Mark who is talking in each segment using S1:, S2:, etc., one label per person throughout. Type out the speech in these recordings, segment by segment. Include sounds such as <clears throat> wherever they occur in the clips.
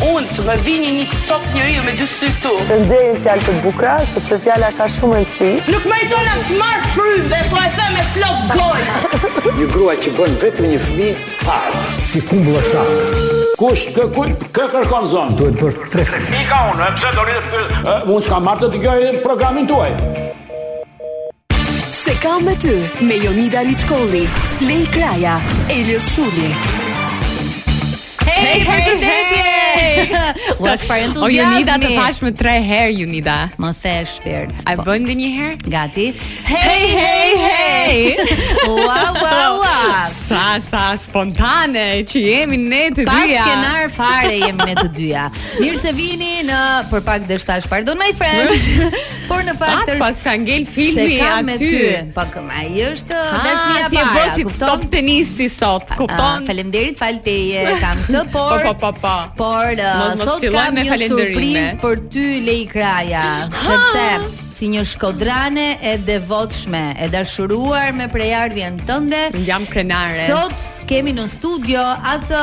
S1: mund të më vini një sot njeriu me dy sy këtu.
S2: Të ndjejë fjalë të bukura, sepse fjala ka shumë rëndësi.
S1: Nuk meriton as të marr frymë dhe po e them me plot gojë.
S3: Një grua që bën vetëm një fëmijë fare.
S4: si kumbulla shafë.
S5: Kush kë kë, kë kërkon zonë?
S4: Duhet bërë tre fëmijë.
S5: Pika unë, e pse do rritë pyet? Unë s'kam marrë të dëgjoj programin tuaj.
S6: Se kam me ty me Jonida Liçkolli, Lej Kraja, Elios Shuli.
S7: Hey, përshëndetje!
S8: <laughs>
S7: Ua, çfarë
S8: O Junida të
S7: entuziazmi!
S8: thash më tre herë Junida.
S7: Mos e shpirt.
S8: A
S7: po.
S8: bën ndonjëherë?
S7: Gati. Hey, hey, hey! Ua, ua, ua!
S8: Sa sa spontane që jemi ne të
S7: Pas
S8: dyja.
S7: skenar fare jemi ne të dyja. Mirë se vini në për pak dështash, pardon my
S8: <laughs>
S7: friend. Por në fakt
S8: Atë
S7: është
S8: pas ka ngel filmi
S7: se kam me
S8: aty.
S7: ty. Po këm, ai është
S8: Ah,
S7: dashnia e
S8: si e
S7: para.
S8: bësi
S7: kupton?
S8: top tenisi sot,
S7: Ah,
S8: kupton?
S7: Faleminderit, fal teje, kam këtë, por
S8: <laughs> Po, po, po, po.
S7: Por uh,
S8: Mos- mos
S7: sot
S8: filloj
S7: kam
S8: me
S7: një
S8: falenderime.
S7: surprizë për ty Lej Kraja, sepse si një shkodrane e devotshme, e dashuruar me prejardhjen tënde.
S8: Jam krenare.
S7: Sot kemi në studio atë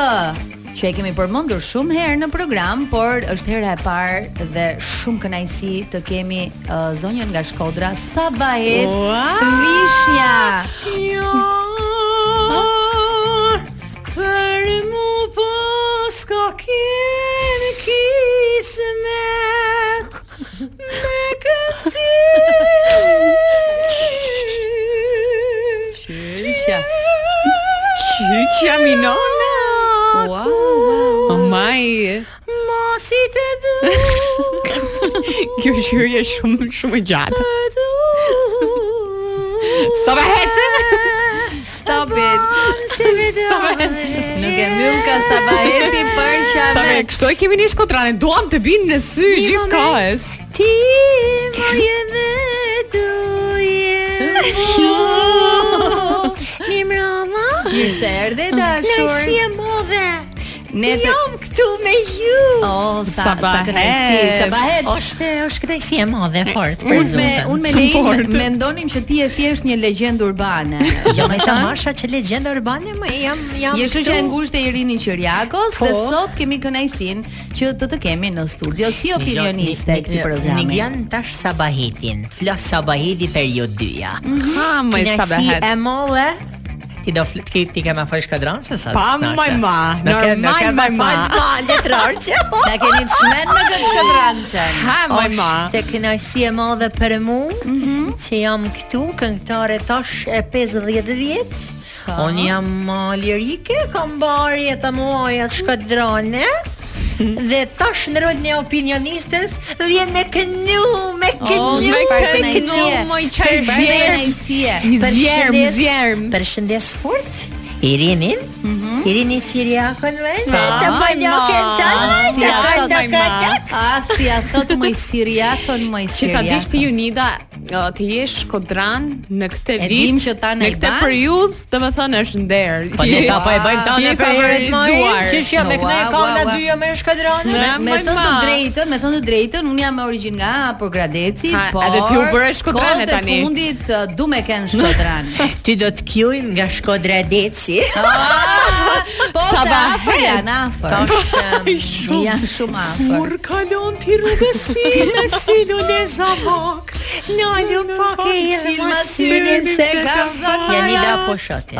S7: që e kemi përmendur shumë herë në program, por është hera e parë dhe shumë kënaqësi të kemi uh, zonjën nga Shkodra, Sabahet
S8: Ua!
S7: Vishnja.
S8: Për mu po s'ka kjenë kismet Me këti
S7: Vishnja.
S8: Qyqja minona
S7: Wow, wow.
S8: O maj
S7: Mosit e du
S8: Kjo shyrje shumë shumë e gjatë Sa
S7: Stop it Nuk e mbyll ka sabaheti për
S8: Sa me
S7: shamet
S8: kështu e kemi një shkodrane Duam të binë në sy gjithë kohës Ti më je
S7: <laughs> Mirë se erdhe dashur
S8: e modhe Jo.
S7: Ne të
S8: këtu me ju
S7: Oh, sa sa
S8: Sabahet.
S7: kënaqësi, sabahet.
S9: Është është kënaqësi e madhe fort për
S7: Unë me
S9: zotën.
S7: unë me
S8: Fort.
S7: Lein mendonim që ti je thjesht një legjend urbane.
S9: Jo,
S7: <laughs>
S9: më
S7: me
S9: tha Masha që legjenda urbane më jam jam.
S7: Je shoqja e
S9: këtu. Po.
S7: ngushtë e Irini Qiriakos dhe sot kemi kënaqësinë që të të kemi në studio si
S9: Një gjë-
S7: opinioniste
S9: Jo, një-
S7: e këtij
S9: një-
S7: programi.
S9: Një janë tash sabahetin. Flas sabaheti për ju dyja.
S7: Mm,
S8: Ha, më e sa
S9: Kënaqësi e madhe. Ti do flit ti ti kemë fal shkadran se sa.
S8: Pa,
S9: s'nashe.
S8: maj, ma.
S9: Nuk e-
S8: Normal,
S9: nuk e
S8: maj, ma.
S9: fal, Ma letrorçe.
S7: <laughs> Na keni të shmen me këtë shkëndrançën.
S8: Ha, më ma Mhm.
S9: Është kënaqësi e madhe për mua që jam këtu këngëtare tash e 50 vjet. Unë jam uh, lirike, kam barje të muaja
S8: <laughs>
S9: të shkodrane Dhe tash në rolin e opinionistes Vjen me kënu, me kënu,
S7: Oh,
S8: me
S7: çfarë
S8: kënu,
S7: kënaqësie.
S8: moj qaj zjerë.
S7: kënaqësie.
S8: Një zjerm,
S9: Përshëndes-
S8: zjerm Mhm.
S9: Përshëndes fort Irinin, Irini Siriakon me, të
S8: ma,
S9: banjakën të,
S7: Si
S9: të
S7: a thot
S9: të të të
S7: A si a thot më i siriakon më i
S8: Që ta
S7: siriakon.
S8: dish ti Unida ë, të jesh kodran në këtë
S7: E
S8: vit.
S7: dim që ta në
S8: në këtë
S7: Elban.
S8: periudhë, domethënë është nder.
S9: Po ne ta po e bëjmë
S8: Ti
S9: tonë
S8: je
S9: për herët më
S8: favorizuar.
S9: që shja me
S7: Ua,
S9: kënaqë
S7: ua,
S9: kanë
S7: ua.
S9: dyja jo, me shkadranë.
S8: Ne-
S7: Me, me
S8: Moj
S7: thënë të
S8: ma.
S7: drejtën, me thënë të drejtën, unë jam me origjinë nga Porgradeci,
S8: Ha,
S7: por
S8: edhe ti u bëre shkodrane
S7: kohët e
S8: tani.
S7: fundit uh, du me ken shkodran.
S9: <laughs> Ty do të kjojmë nga Shkodra Deci.
S7: Ah, po
S8: Sa
S7: sa afër
S8: bahet.
S7: janë afër. Janë shumë afër.
S9: kalon ti rrugës si me silun e zamak Nalë pak e
S7: Çilma syrin se kam zënë.
S9: Jeni da po <laughs> shote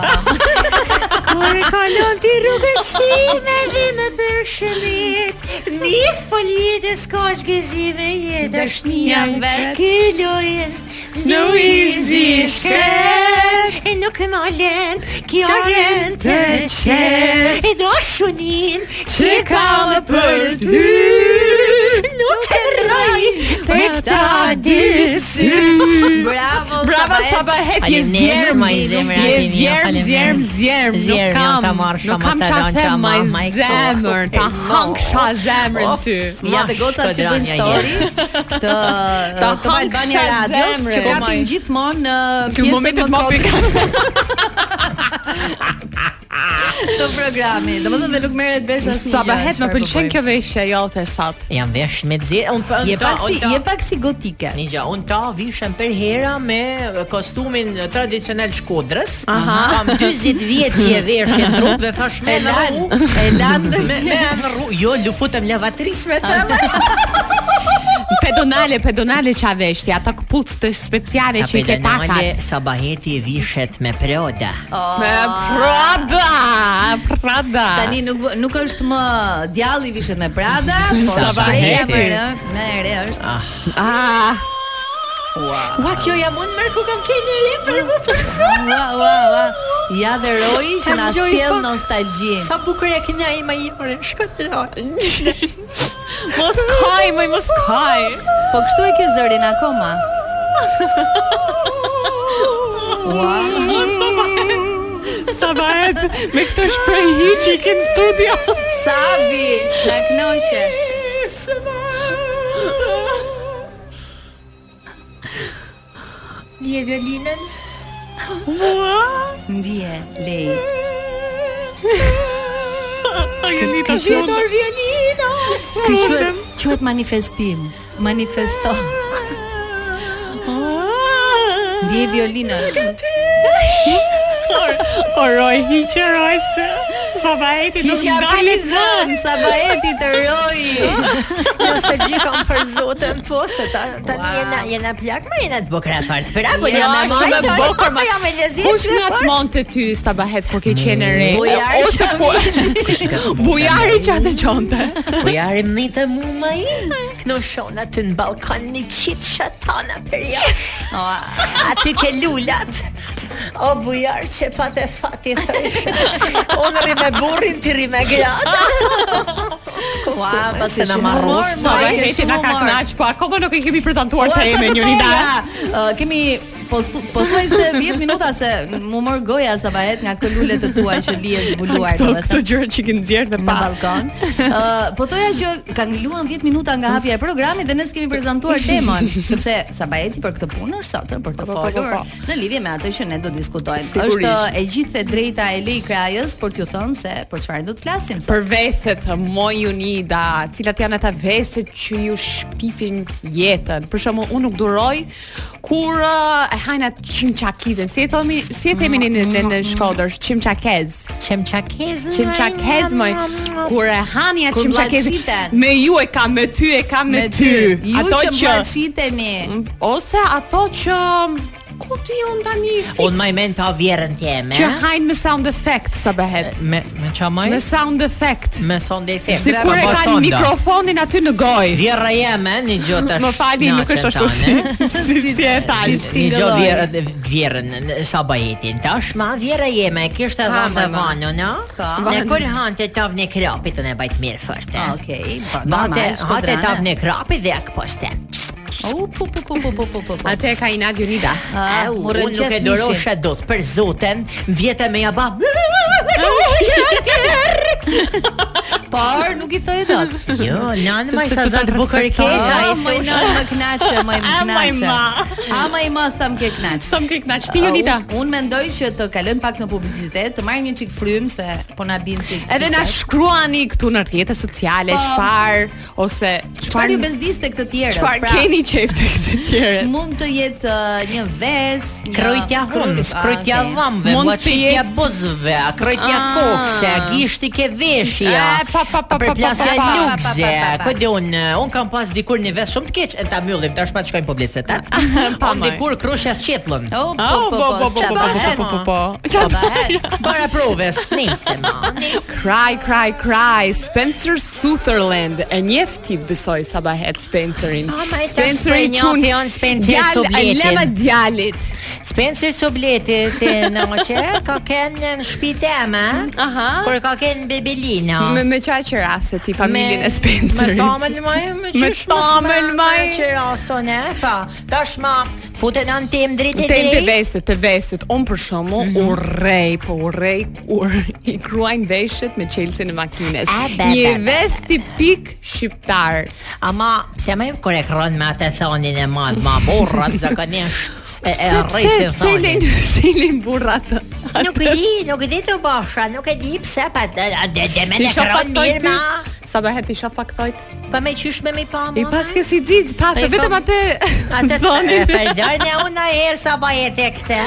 S7: Kur
S9: kalon ti rrugës si me dhime për shëmit Nis foljet e s'ka shgezive je dashnia
S7: vet.
S9: Ky lojës Luizi shkret E nuk më alen Kjo rend të qet E do shunin Që kam për ty Nuk e rroj Për këta dy sy
S7: Bravo,
S8: Bravo
S7: Sabahet.
S8: Sabahet, je
S9: Faleminderit,
S8: zjerm,
S9: maj zemra,
S8: je
S9: Alini,
S8: zjerm,
S9: faleminderit.
S8: zjerm, zjerm,
S9: Zjerm,
S8: erm, nuk
S9: jo,
S8: kam,
S9: ta marrë shumë,
S8: nuk kam
S9: mos
S8: qa
S9: ta lanë
S8: them
S9: qa ma, Oh, ma
S8: maj
S9: i kohë.
S8: zemër, ta hanksha zemrën ty.
S7: Ja dhe gocat që bëjnë story të të
S8: hanksha
S7: Albania Radios që
S8: zemrën.
S7: kapin gjithmonë uh, në
S8: Ty
S7: pjesën
S8: momentet
S7: më
S8: më
S7: kot.
S8: pikant.
S7: të programi. Domethënë dhe nuk merret vesh asnjë. gjë,
S8: Sabahet më
S7: çfarë
S8: pëlqen
S7: po
S8: kjo jo, veshja jote sat.
S9: Jam vesh me zi, un po
S7: bëjmë. Je
S9: un ta,
S7: pak si
S9: un ta.
S7: je pak si gotike.
S9: Nigja, un ta vishem për hera me kostumin tradicional shkodrës. Kam 40 vjeç që e vesh në trup dhe thash me
S7: E
S9: në
S7: lan,
S9: rrugë.
S7: e lan.
S9: Me me në rrugë, jo lufutem lavatris me të.
S8: Pedonale, pedonale qa veshti, ata këpucë të speciale që i ke
S9: Kapelanale
S8: takat.
S9: Sabaheti vishet me proda.
S8: Me
S7: Ah.
S8: Prada, Prada.
S7: Tani nuk nuk është më djalli vishet me Prada, po por
S9: Sa
S7: shpreha
S9: vaheti.
S7: më re, më re është.
S8: Ah,
S9: Ua, kjo jam unë mërë ku kam keni re për më përsu.
S7: Ua ua ua. Ja dhe roi që
S9: Kam
S7: na
S9: gjoj
S7: sjell
S9: pak.
S7: nostalgji.
S9: Sa bukur e kënja ima i mërë, shkëtërojnë.
S8: mos kaj, mëj, mos kaj.
S7: Po kështu e ke zërin akoma. Ua.
S8: Sabahet, me këtë shprejhi që i ke në studio.
S7: Sabi, na knoqe.
S9: Një violinën?
S7: Ndje, lej.
S8: <laughs> Angelita shumë.
S9: Vjetor violina!
S7: Ky quhet quhet manifestim. Manifesto.
S8: <laughs> Ah.
S7: Ndje violinën.
S8: Oroj, hiqëroj se. Sabaheti nuk
S7: Kishja
S8: ndale
S7: prizën Sabaeti të
S9: <laughs>
S7: roi.
S9: Nostalgji kam për zotën, po, se ta, ta
S7: Wow.
S9: jena, jena plak, ma jena të bukra fartë. Pra, po jena
S8: jam
S9: majtë,
S8: shumë e bukur, ma-
S9: po jam e lezit.
S8: Kush nga të monte ty Sabahet kur ke qenë re?
S9: Mm. po
S7: Bujari
S8: Ose po- ku? Bujari që atë gjonte.
S9: Po jarim një të mu ma i Këno shona të në balkon një qitë shatana për jashtë Aty ke lullat O bujar që pa të fati thëjshë Unë rri me burrin, ti rri me gratë
S7: Ua, pasi na marrë.
S8: Marrus, Sabaheti na ka knaq, po akoma nuk e kemi prezantuar
S7: Ua,
S8: të
S7: Po, sa
S8: emrin
S7: të
S8: Jonida.
S7: përra. Ë, Kemi postu, po thuaj se 10 minuta se mu mor goja Sabahet nga këto lule të tua që bie zbuluar
S8: Këto
S7: domethënë.
S8: këto gjëra që kanë nxjerrë dhe
S7: në
S8: pa. <laughs>
S7: balkon. Ë, po thoya që ka ngeluan 10 minuta nga hapja e programit dhe ne s'kemi prezantuar
S8: <laughs>
S7: temën, sepse Sabajeti për këtë punë është sot për të
S8: po, po,
S7: folur
S8: po.
S7: në lidhje me atë që ne do diskutojmë.
S8: Sigurisht.
S7: Është e gjithë e drejta e Lej Krajës për t'ju thënë se për çfarë do të flasim sot.
S8: Për veset, moj Unida, cilat janë ata veset që ju shpifin jetën. Për shembull, unë nuk duroj kur ë, e hajnë atë çimçakizën. Si e themi, si e themi në në, në Shkodër, çimçakez.
S9: Qem qakez
S8: Çimçakez moj. Kur e hani atë
S7: Kur
S8: çimçakez.
S7: vllaqiten.
S8: Me ju e kam, me ty e kam, me, ty.
S7: Ju
S8: ato
S7: që
S8: që Mm.
S7: shiteni.
S8: ose ato që ku ti un tani fix.
S9: Unë maj Eh? men ta vjerën tjeme
S8: që hajnë me sound effect sa bëhet.
S9: Me, me qa maj?
S8: Me sound effect.
S9: Eh? Me sonde i them
S8: Sikur e kanë mikrofonin aty në gojë.
S9: Vjerra jeme, një gjotë
S8: <laughs> Më fali, nuk është ashtu si <laughs> si, si e thash.
S7: si-
S9: Një gjo
S7: Shtingëlloj.
S9: vjerën, vjerën në sabajetin Tash ma vjera jeme, kishtë e dhëmë dhe
S7: Hamër, ma.
S9: vanu, no?
S7: Ka.
S9: Në kur hanë të tavë në krapit Unë e bajtë mirë fërte
S7: Okej, po, normal,
S9: Bate, hatë
S7: shkodrane.
S9: e tavë në krapit dhe ak poste
S7: U pu pu pu pu pu pu pu.
S8: Atë ka Inad Jonida. <laughs>
S7: Ah,
S9: Au,
S7: mu
S9: Unë
S7: rëqet
S9: nuk e
S7: mishin.
S9: dorosha dot për zoten Vjetë me ja ba
S8: <laughs>
S7: Por nuk i thoj
S8: <laughs>
S7: dot.
S9: Jo, nanë maj
S8: Sepse
S9: sa
S8: të
S9: zatë
S8: të
S9: bukër keta
S7: Ah,
S9: i
S7: moj
S9: thosh.
S7: në më knaqe, moj
S8: <laughs>
S7: më
S8: Ah, moj
S7: knaqe.
S8: ma.
S7: Ah, moj ma sa më ke knaqe.
S8: Sa më ke knaq ti Jonida?
S7: Unë un mendoj që të kalojmë pak në publicitet, të marrim një çik frym se po na bin si.
S8: Edhe na shkruani këtu në rrjetet sociale
S7: Po.
S8: çfarë ose
S7: çfarë ju
S8: çfarë
S7: bezdiste këtë tjerë?
S8: çfarë keni qef të këtë tjere.
S7: Pra, Mund të jetë ë, një ves, një
S9: Krojtja hundës,
S7: Ah,
S9: krojtja
S7: okay.
S9: vëmve,
S8: Mund të
S9: vllaçitja
S8: jetë-
S9: bozëve, krojtja
S8: Ah.
S9: kokse, gishti ke veshja.
S8: E, pa, pa, pa, pa,
S9: përplasja
S8: pa, pa, pa,
S9: lukse.
S7: pa, pa, pa, pa.
S9: Po di un, un kam pas dikur një vesh shumë të keq, e ta mbyllim tash pa të shkojmë publicitet.
S8: <laughs> Pa,
S9: Un
S8: moj.
S9: dikur krushja s'qetllën.
S7: Oh, po,
S8: Au,
S7: po, po, po, po, po, po, po,
S8: Qa
S9: Para provës, nice ma.
S8: Cry, cry, cry, Spencer Sutherland E njefti besoj Sabahet Spencerin
S9: Ah, ma e ta
S8: Spenceri
S9: s'po
S8: qun
S9: njofi on Spencer
S8: E
S9: Sovjetin.
S8: lema djalit
S9: Spencer Sobleti ti në që ka kënë në shpitema,
S8: Aha.
S9: kur ka kënë bebelina.
S8: Me, me qa që rase ti familjen e Spencerit
S9: Ah. Me tamën më me
S8: Me
S9: qysh mos
S8: tamën,
S9: me-
S8: maj.
S9: me Që rason e pa. Tash ma futen anë tim drejt e Mhm.
S8: Tem të
S9: drejt.
S8: vesit, të vesit On për shumë urrej Po urrej kur i kruajnë veshet Me qelsin e makines
S9: A, be,
S8: Një
S9: be, be,
S8: vest tipik shqiptar
S9: Ama pse më kur e kron me atë thonin e
S8: <laughs>
S9: madh ma burrat zakonisht e e
S8: Se- <laughs> Se
S9: rrisin
S8: se
S9: thonin.
S8: lejnë Se lejnë burrat
S9: Nuk e di, nuk e di të bosha, nuk e di pse pa de, de, de me
S8: Ti
S9: në
S8: shoh pak
S9: kërën
S8: thojt
S9: mirë
S8: ty?
S9: ma.
S8: Sa bëhet ti shoh pak thojt?
S9: Pa me qysh me mi pa ma.
S8: I pas ke si xiz, pas
S9: Ai,
S8: vetëm
S9: kam-
S8: atë <laughs>
S9: Atë
S8: dhoni.
S9: e përdojnë e unë a herë sa bajet e këte.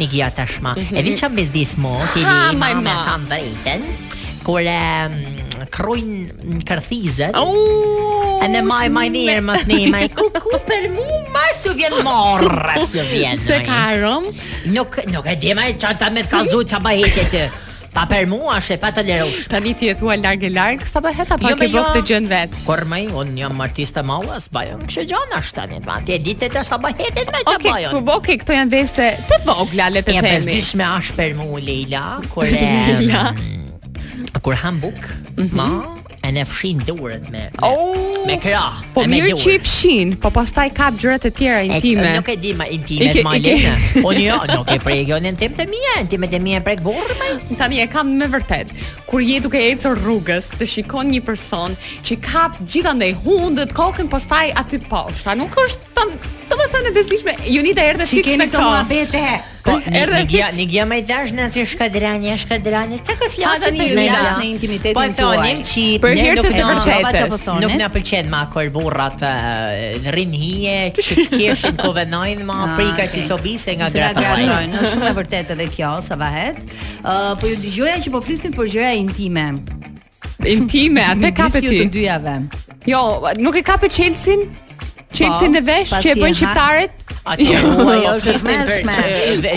S9: Nikia tashma, e di që bizdis mu, ti
S8: Mhm. Ha,
S9: di ma
S8: maj
S9: me
S8: ma.
S9: thamë drejten, kur e mm, krujnë në kërthizet,
S8: Au!
S9: e në maj maj mirë më të një, maj ku ku për mu, ma së vjen morë,
S8: <laughs>
S9: së jo vjen.
S8: Se
S9: maj.
S8: ka rom?
S9: Nuk, nuk e di maj që ta me të kalzu që bajet e të. Pa për mu, ashe pa të lerush.
S8: Tani ti e thua larg e larg, sa bëhet apo
S9: Jo,
S8: ke
S9: me
S8: bë
S9: jo.
S8: këtë gjën vet?
S9: Por më unë jam artiste mauë, s'bajën kështë gjona shtani, ma ti e ditë të sa bajetet me që
S8: Okej,
S9: bajën.
S8: po okej, këto janë vese të vogla le të
S9: E
S8: themi.
S9: bezdishme është për mu Leila
S8: <laughs>
S9: Kur e Mm.
S8: Leila. Mhm.
S9: Kur ham buk Ma E ne fshin durët me me-
S8: Oh!
S9: Me krah
S8: Po
S9: e me
S8: mirë
S9: durë.
S8: që i fshin, po pastaj kap gjërat e tjera
S9: E-
S8: intime.
S9: Nuk e di ma
S8: I ke-
S9: intimet ma
S8: i ke-
S9: lene
S8: <laughs>
S9: Unë jo, nuk e prej jo në intim të mija Intimet e mija e prek burë me
S8: Tani e kam me vërtet. Kur je duke ecur rrugës, të shikon një person që kap gjithandaj hundët kokën pastaj aty poshtë. A nuk është tan, domethënë e bezdishme. Junita erdhe
S7: Ti
S8: fiks
S7: kemi
S8: me
S7: këto
S8: këto.
S7: muhabete.
S9: Po, një
S8: erdhe
S9: një gja-
S8: fiks.
S9: një gja me i dash në si shkadrani, shkadrani, s'ta ka
S7: Ha,
S9: flasë
S7: tani ju jashtë në intimitetin
S9: Po e
S7: tuaj.
S9: thonim që
S8: Për
S9: ne
S8: hir të
S9: nuk
S8: së
S9: na-
S8: vërtetës.
S7: Pa çfarë po thonë.
S9: Nuk na pëlqen ma kur burrat e, rrin hije, që
S7: <laughs>
S9: qeshin kovenojnë ma
S7: Ah,
S9: prika
S7: okay.
S9: që sobise nga
S7: Se <laughs> nga
S9: gratë.
S7: gratrojnë, është shumë e vërtetë edhe kjo, sa vahet. Ë, po ju dëgjoja që po flisnit për gjëra intime.
S8: Intime, atë
S7: Midis
S8: kapet
S7: ju
S8: ti.
S7: të dyjave.
S8: Jo, nuk e kapë Chelsea-n. Chelsea në vesh
S7: Po, pasi
S8: që e
S7: e
S8: bën
S7: ha-
S8: shqiptarët.
S9: Atë
S7: ajo Jo, është mërshme.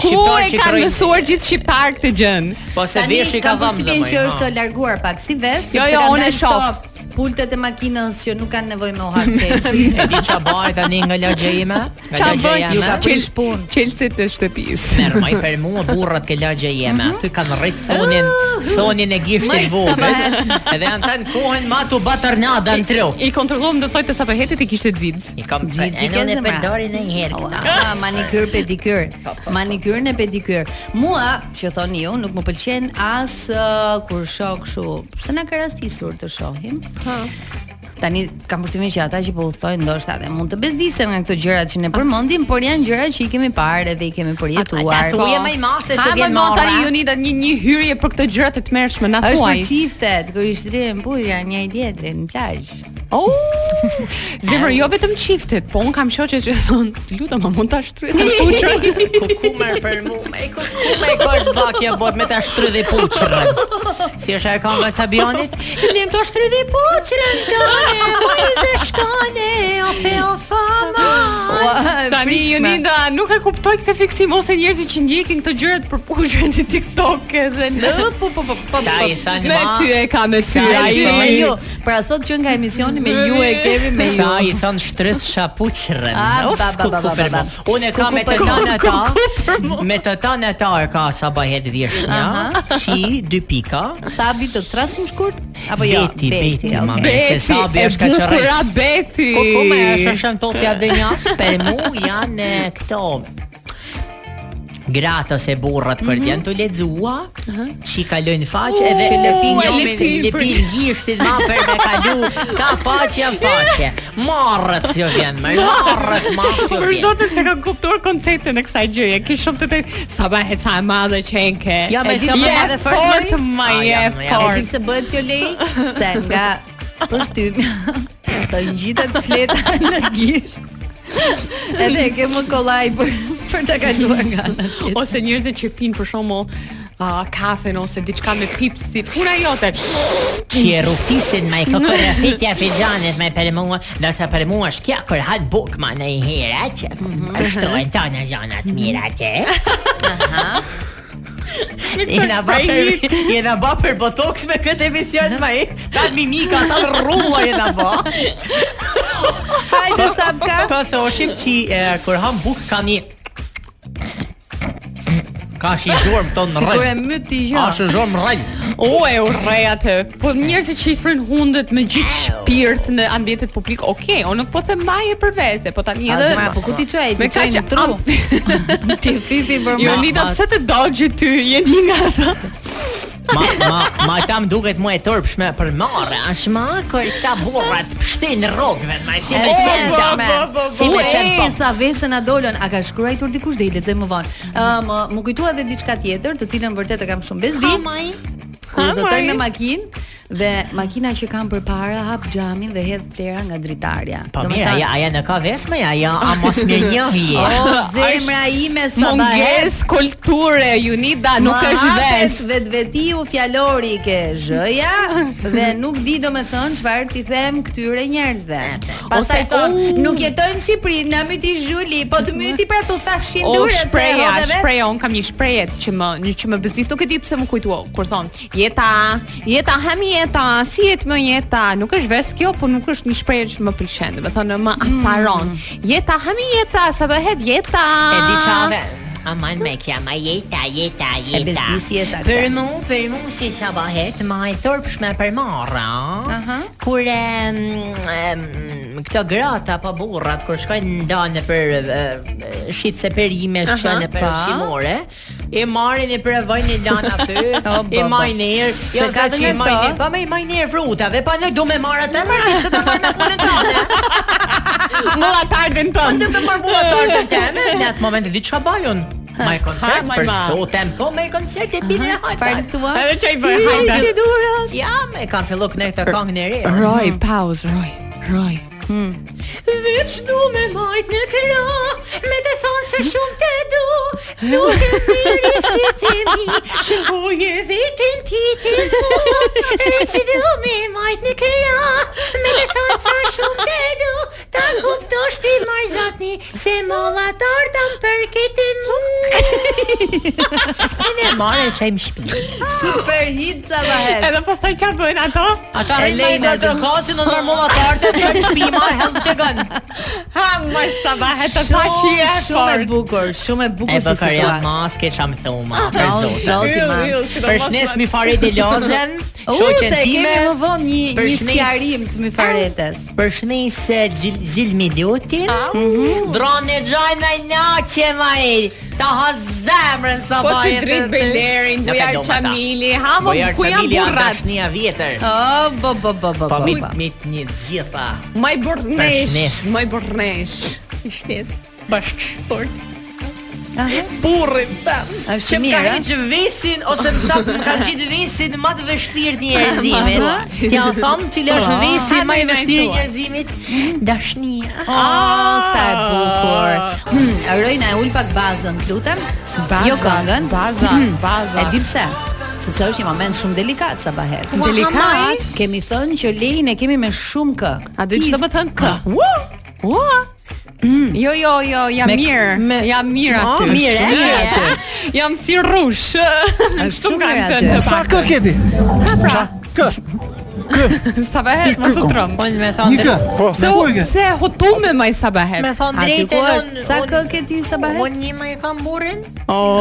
S8: Ku e kanë mësuar gjithë shqiptarë këtë gjën?
S9: Po se
S7: Tani
S9: veshi ka
S7: kam
S9: dhëmë
S7: përshtypjen që
S9: <laughs>
S7: është
S9: zëmoj.
S7: larguar pak si ves,
S8: Jo,
S7: sepse
S8: jo,
S7: kanë
S8: unë e
S7: dalë
S8: shoh.
S7: këto Pultet e makinës që nuk kanë nevojë me u hap Chelsea.
S9: E di <laughs> qa bëhet tani nga lagje ime?
S7: <laughs>
S9: Nga
S8: Qa
S9: lagja
S8: bën?
S9: jeme?
S7: Ju ka prish punë.
S8: Chelsea të shtëpisë.
S9: Mermaj për mua burrat ke lagje jeme
S7: Mhm.
S9: Ty kanë rrit thonin Thonin e
S7: Maj,
S9: gishtin
S7: sa
S9: vogël
S7: bëhet.
S9: Edhe janë tanë kohën ma të batërnada në tru
S8: I kontrolluam do thotë sa përhetit i kishte xiz.
S9: I kam
S7: Zi- zi ke
S9: e
S7: zemra.
S9: përdori në një herë këta
S7: Ah, manikyr, pedikyr. Manikyr në pedikyr. Mua, që thoni ju, nuk më pëlqen as ë, kur shoh kështu. Pse na ka rastisur të shohim? Tani kam përshtymin që ata që po udhtojnë ndoshta edhe mund të bezdisen nga këto gjërat që ne përmendim, por janë gjëra që i kemi parë edhe i kemi
S9: Ta
S7: përjetuar.
S9: thuje më i ma se se
S8: Po. Ha,
S9: vjen
S8: ma, ma,
S9: marra
S8: tani ju nida një një hyrje për këtë gjëra të tmerrshme na
S7: Është
S8: thuaj.
S7: për çiftet, kur i shtrirën burja një i tjetrit në plazh.
S8: Oh!
S9: <laughs>
S8: Zemër jo vetëm çiftet, po un kam shoqe që thon, "Të lutem, a mund ta shtrydh
S9: <laughs>
S8: në fuçë?"
S9: Kukumër për mu Me kukumër e kosh bakja bot me ta shtrydhi puqërën Si është e ka nga Sabionit Lem të shtrydhi puqërën tëne Ujze shkane Ofe ofa ma
S8: Tani ju nida nuk e kuptoj këtë fiksim ose njerëzit që ndjekin këto gjërat për pushën e TikTok edhe në
S7: Po po po po.
S9: Sa
S7: po.
S9: i thanë
S8: Me
S9: ma
S8: ty e ka me sy
S9: Sa
S8: ai.
S7: Ju me
S9: i-
S7: ju. Pra sot që nga emisioni me ju e kemi me ju.
S9: Sa i thon shtrydh shapuqrën.
S7: A,
S9: Uf,
S7: ba, ba, ba,
S9: ku
S7: ba,
S9: ku për
S7: ba,
S9: mu. Unë e kam me të
S7: për mu.
S9: tanë
S8: Ku, ku,
S9: ta. Me të tanë ta e ka sa bahet vjeshnja. Shi dy pika.
S7: Sabi të trasim shkurt apo jo?
S9: Beti, beti, ma.
S7: okay.
S8: Beti,
S9: Se sabi
S8: e
S9: është ka qërrec.
S8: bukura Beti.
S9: Ku ku me është shën topja dhe njaps për mu janë e, këto gratë ose burrat kur janë të lexua, çi kalojnë faqe edhe
S8: Uuu,
S9: lëpin
S8: Mhm. Oh, e
S9: jomin,
S8: lëpin për-
S9: lëpin gishtin ma për me kalu ka faqe janë faqe. Marrët si vjen, më marrët ma si
S8: Për
S9: vjen.
S8: zotin se kam kuptuar konceptin e kësaj gjëje. Ke shumë të të sa bëhet sa e madhe që enke.
S9: Ja, me
S8: E di-
S9: sa më
S8: je
S9: madhe fort,
S8: fort,
S9: mëj?
S8: më
S9: Ah,
S8: je
S9: jam, jam.
S7: E di
S8: fort.
S7: pse bëhet kjo lej? Se nga përshtymi <laughs> të ngjitet fleta <laughs> në gisht. Edhe e ke më kollaj për për ta kaluar nga ana tjetër.
S8: Ose njerëzit që pinë për shembull uh, kafen ose diçka me pipsi. Puna jote.
S9: Që e ruftisin me këpër e fitja fijanit me për mua Nëse për mua është kja kër hatë buk ma në i hera që Shtojnë ta në gjanat mira të <laughs> Jena ba për jena ba për botox me këtë emision më i. Ta mimika, ta rrulla jena ba.
S7: Hajde sapka.
S9: Po thoshim që e, kur ham buk ka një Ka shi zhurm ton në
S7: Sigur e
S9: rrëll.
S7: myt jo. i
S9: Ka
S7: gjë.
S9: shi zhurm rrëll.
S8: O e urrej atë. Po njerëzit që i fryn hundët me gjithë shpirt në ambientet publik, okay, unë nuk po them maje për vete, po tani
S7: A,
S8: edhe.
S7: zemra, po ku ti çoj? Ti
S8: Me
S7: çoj
S8: kaq
S7: në tru.
S8: <laughs> amp-
S7: Ti fifi për
S8: Jo
S7: mua.
S8: nida pse të dogji ty, je një nga ata.
S9: Ma ma ma ta më duket më e tërpshme për marrë, as më kur këta burrat pshtin rrogëve, më si me qenë po, po, po, si me qenë po.
S7: e, sa vese na dolën, a ka shkruar dikush dhe i lexoj më vonë. Ëm, më kujtua edhe diçka tjetër, të cilën vërtet e kam shumë bezdi.
S9: Hamaj.
S7: Kur do toj
S9: Hamaj.
S7: me makinë dhe makina që kam përpara hap xhamin dhe hedh plera nga dritarja.
S9: Po
S7: Do me
S9: mirë,
S7: thënë,
S9: aja, aja në ka vesme, aja, a mos me njohi je.
S7: O zemra ime sa bahet.
S8: Munges kulture, Junida, nuk është ves.
S7: Vetvetiu fjalori ke zhja dhe nuk di domethën çfarë ti them këtyre njerëzve. Pastaj
S8: Ose,
S7: thon,
S8: u.
S7: nuk jetojnë në Shqipëri, na myti zhuli, po të myti pra tu thash
S8: O
S7: shindurë
S8: shpreja, shpreja, un kam një shprehje që më një që më bezdis, nuk e di pse më kujtua kur thon, jeta, jeta hem jeta, si jet më jeta, nuk është ves kjo, po nuk është një shprehje që më pëlqen, do të thonë më
S9: Mm.
S8: acaron. Jeta hem jeta, sa bëhet jeta.
S9: E di
S7: Ah.
S9: qave. Aman me kja, ma jeta, jeta, jeta.
S7: bezdis jeta, këta.
S9: Për mu, për mu, si sa bahet, ma e tërpshme për marra.
S7: Aha.
S9: Kur e, këto grata pa burrat, kur shkojnë ndane për e, shitse perime,
S7: Aha,
S9: shkojnë për
S7: pa.
S9: shimore, i marrin i prevojnë i lanë aty,
S7: <laughs> O,
S9: i
S7: bo,
S9: majnë erë,
S7: Se
S9: jo
S7: ka
S9: ka
S7: dhe
S9: që i
S7: me
S9: majnë
S7: këto.
S9: erë, pa me i majnë erë frutave, pa ne du me marra të mërë, ti që të marrë me punën tane.
S7: <laughs>
S8: Mulla targën tonë.
S9: Të të përbua tortën teme Në atë moment e di çka bajon Ma e
S8: Ha,
S9: koncert për
S8: ma.
S9: sotem Po me e koncert e bine
S7: Çfarë
S9: hajta
S7: thua?
S8: Edhe çaj bëj, hajde.
S9: Ja me kanë fillu këne këtë kongë në re
S8: Roj, pauzë, roj, roj.
S9: Veç du me majt në këra Me të thonë se shumë të du Nuk e thiri si të mi Që buje vetën ti të mu Veç du me majt në këra Me të thonë se shumë të du Ta kuptosh ti marzatni Se molla tortën për këtë mu Edhe marrë <laughs> e qaj më shpinë
S7: Super hit sa bahet.
S9: <laughs>
S8: Edhe pastaj çfarë bëjnë ato?
S9: Ata
S7: E
S9: rrinë
S7: lejnë
S9: me
S7: atë.
S9: të kasin në normolla tartë Të në shpi marrë helm të gënë
S8: Ha, moj sabahet të
S7: Shumë, shumë e bukur, shumë e
S9: E
S7: bukur si
S9: bëkar jam
S7: situatë.
S9: maske që më thoma Për
S7: O,
S9: zotë
S7: zoti ma.
S9: oh, Për shnes mi fare dhe
S7: <laughs>
S9: lozen
S7: U,
S9: Shoqen
S7: se
S9: time
S7: kemi më vonë një një
S9: përshnis-
S7: sqarim të myfaretes.
S9: Për shnes e Gjil- Gjilmi Lutin
S7: Ah,
S9: Mhm. Drone gjaj në na që ma e Ta ha zemrën sa
S8: Po si
S9: bajet
S8: drit Belerin, Bujar Qamili, ha mo
S9: Bojar
S8: ku janë
S9: Qamili janë
S8: burrat?
S9: dashnia vjetër
S7: Oh, bo bo bo bo.
S9: Pa
S7: bo,
S9: mit
S7: bo.
S9: mit një të gjitha
S8: Moj burrnesh,
S9: Përshnes.
S8: moj burrnesh. Ishtes. Bashkëshport.
S7: Aha.
S8: Burrin tam.
S7: Është
S9: Që më
S7: mirë.
S9: ka
S7: a?
S9: hiqë vesin ose më saktë më ka gjetë vesin më të vështirë të njerëzimit. T'ja thom cili është
S7: Po.
S9: vesi
S8: Ha,
S9: më i
S8: të
S9: vështirë i
S8: najtuar.
S9: njerëzimit, dashnia.
S7: Oh, Mhm. sa e bukur. Hmm, Rojna e ul pak bazën, lutem. Jo këngën.
S8: baza, baza.
S7: E di pse? Sepse është një moment shumë delikat sa bahet.
S8: Ua, hamaj.
S7: Kemi thënë që lejin e kemi me shumë kë.
S8: A do të
S7: Is-
S8: më thën k?
S9: Ah,
S8: Ua! Ua! Jo, jo, jo, jam
S9: Mm. Me-
S8: mirë.
S9: me-
S8: jam mirë
S9: Ma,
S8: aty.
S9: mirë, eh?
S8: Është
S9: e?
S8: Jam si rrush. <laughs> Kështu
S7: shumë
S8: kanë
S7: mirë
S8: thënë
S7: aty.
S8: të
S4: Sa kë
S8: paktën.
S4: keti?
S8: Ha pra,
S4: Kë? Kë?
S8: <laughs> sabahet
S4: Një
S8: mos u
S4: kë,
S8: trom.
S9: Unë me
S4: Një
S9: thonë
S4: kë? Po,
S8: Se
S4: se
S8: u
S4: ujke.
S8: se hotu me maj sabahet.
S9: me thonë
S7: A ti ku
S9: drejtë
S7: është? Sa kë ke ti sa bahet?
S9: Unë një më e kam burrin.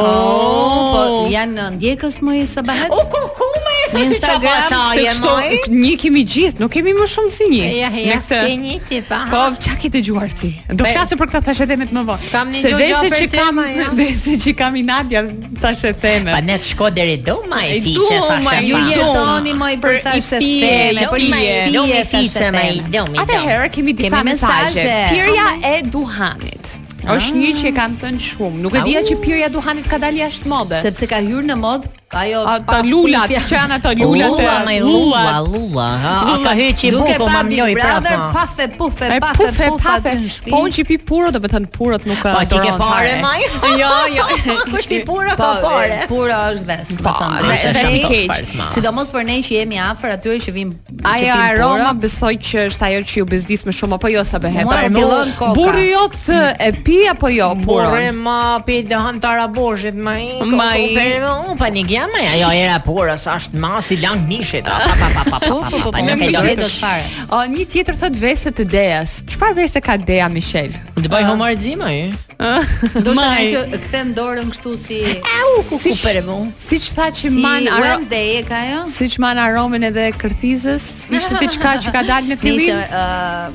S7: Oh, po janë ndjekës më i sa bahet?
S8: Oh,
S9: O ku më e
S7: Në
S9: thënë se çfarë
S7: Instagram,
S9: ata
S8: Se
S9: je
S8: kështu
S9: moj?
S8: një kemi gjithë, nuk kemi më shumë si një.
S9: Ja,
S8: Me
S9: ja,
S8: këtë-
S9: s'ke një ti pa.
S8: Po, çka ke dëgjuar ti? Do
S9: Be-
S8: flasim për këtë tash e themet më vonë.
S9: S'kam një
S8: Se
S9: gjë
S8: vese
S9: gjatë
S8: që
S9: për
S8: kam,
S9: tema,
S8: <laughs>
S9: ja.
S8: vese që kam i Nadia tash e themet.
S9: Pa ne të shko deri doma e
S8: Ej,
S9: fice
S8: doma,
S9: thashë.
S8: ju
S7: Ju
S8: Pa.
S7: jetoni më i për
S8: Për
S7: thashë
S8: i pije, jo,
S7: theme, për i
S8: domi,
S7: pije,
S9: Domi
S7: thashë
S9: fice me i
S7: theme.
S9: domi.
S8: Atëherë kemi disa
S7: Kemi
S8: mesazhe.
S7: mesazhe.
S8: Pirja e duhanit. Është një që e kanë thënë shumë. Nuk e dija që pirja e duhanit ka dalë jashtë mode.
S7: Sepse ka hyrë në mod ajo
S8: Ato
S7: pa
S8: lulat,
S7: pufja.
S8: që janë ato
S9: Lula,
S8: lulat
S9: lula,
S8: e
S9: lula, lula, ha, a ka hyqi
S7: Duke
S9: buku,
S7: pa
S9: ma
S7: Big
S9: mjoj
S7: Brother,
S9: prapa.
S7: pafe, pufe,
S8: E
S7: pafe,
S8: pufe, pafe. Po unë që i pi puro, do me thënë purët nuk
S9: Pa,
S8: e
S9: Po, ti ke
S8: doron
S9: pare,
S8: fare.
S9: maj?
S8: <laughs> Jo, jo.
S9: Kush pi pura
S7: Po,
S9: ka pare.
S7: e, pura është ves, po
S8: Po,
S7: thënë.
S8: dhe-
S7: drejtë,
S8: dhe
S7: është
S8: si
S7: e
S8: keq.
S7: fort, ma. Sidomos për ne që jemi afër atyre që vim që
S8: Ajo
S7: pim
S8: aroma
S7: purë.
S8: besoj që është ajo që ju bezdis më shumë apo jo sa behet.
S7: Mua
S8: Aroma.
S7: fillon koka.
S8: Burri jot e pi apo jo
S9: Porre
S8: purën?
S9: ma pi dëhan tara boshit ma i
S8: Ma i-
S9: Unë pa një gjama ja Jo era porës ashtë ma si lang mishit a, Pa pa pa pa pa
S7: Po, po,
S9: pa
S7: po,
S9: pa
S7: po,
S9: nuk
S7: mos
S9: e
S7: i
S9: do.
S7: gjetë dot fare.
S8: O, një tjetër thot vese të Deas. Çfarë vese ka Dea Michel?
S9: Unë të bëj humor zima i
S7: Do të
S9: Maj.
S7: që kthen dorën kështu si
S8: Si për mu. Siç tha që
S7: si
S8: man aro...
S7: Wednesday e ka ajo?
S8: Siç man aromen edhe kërthizës, ishte diçka që ka dalë në fillim.
S7: Nëse, ë,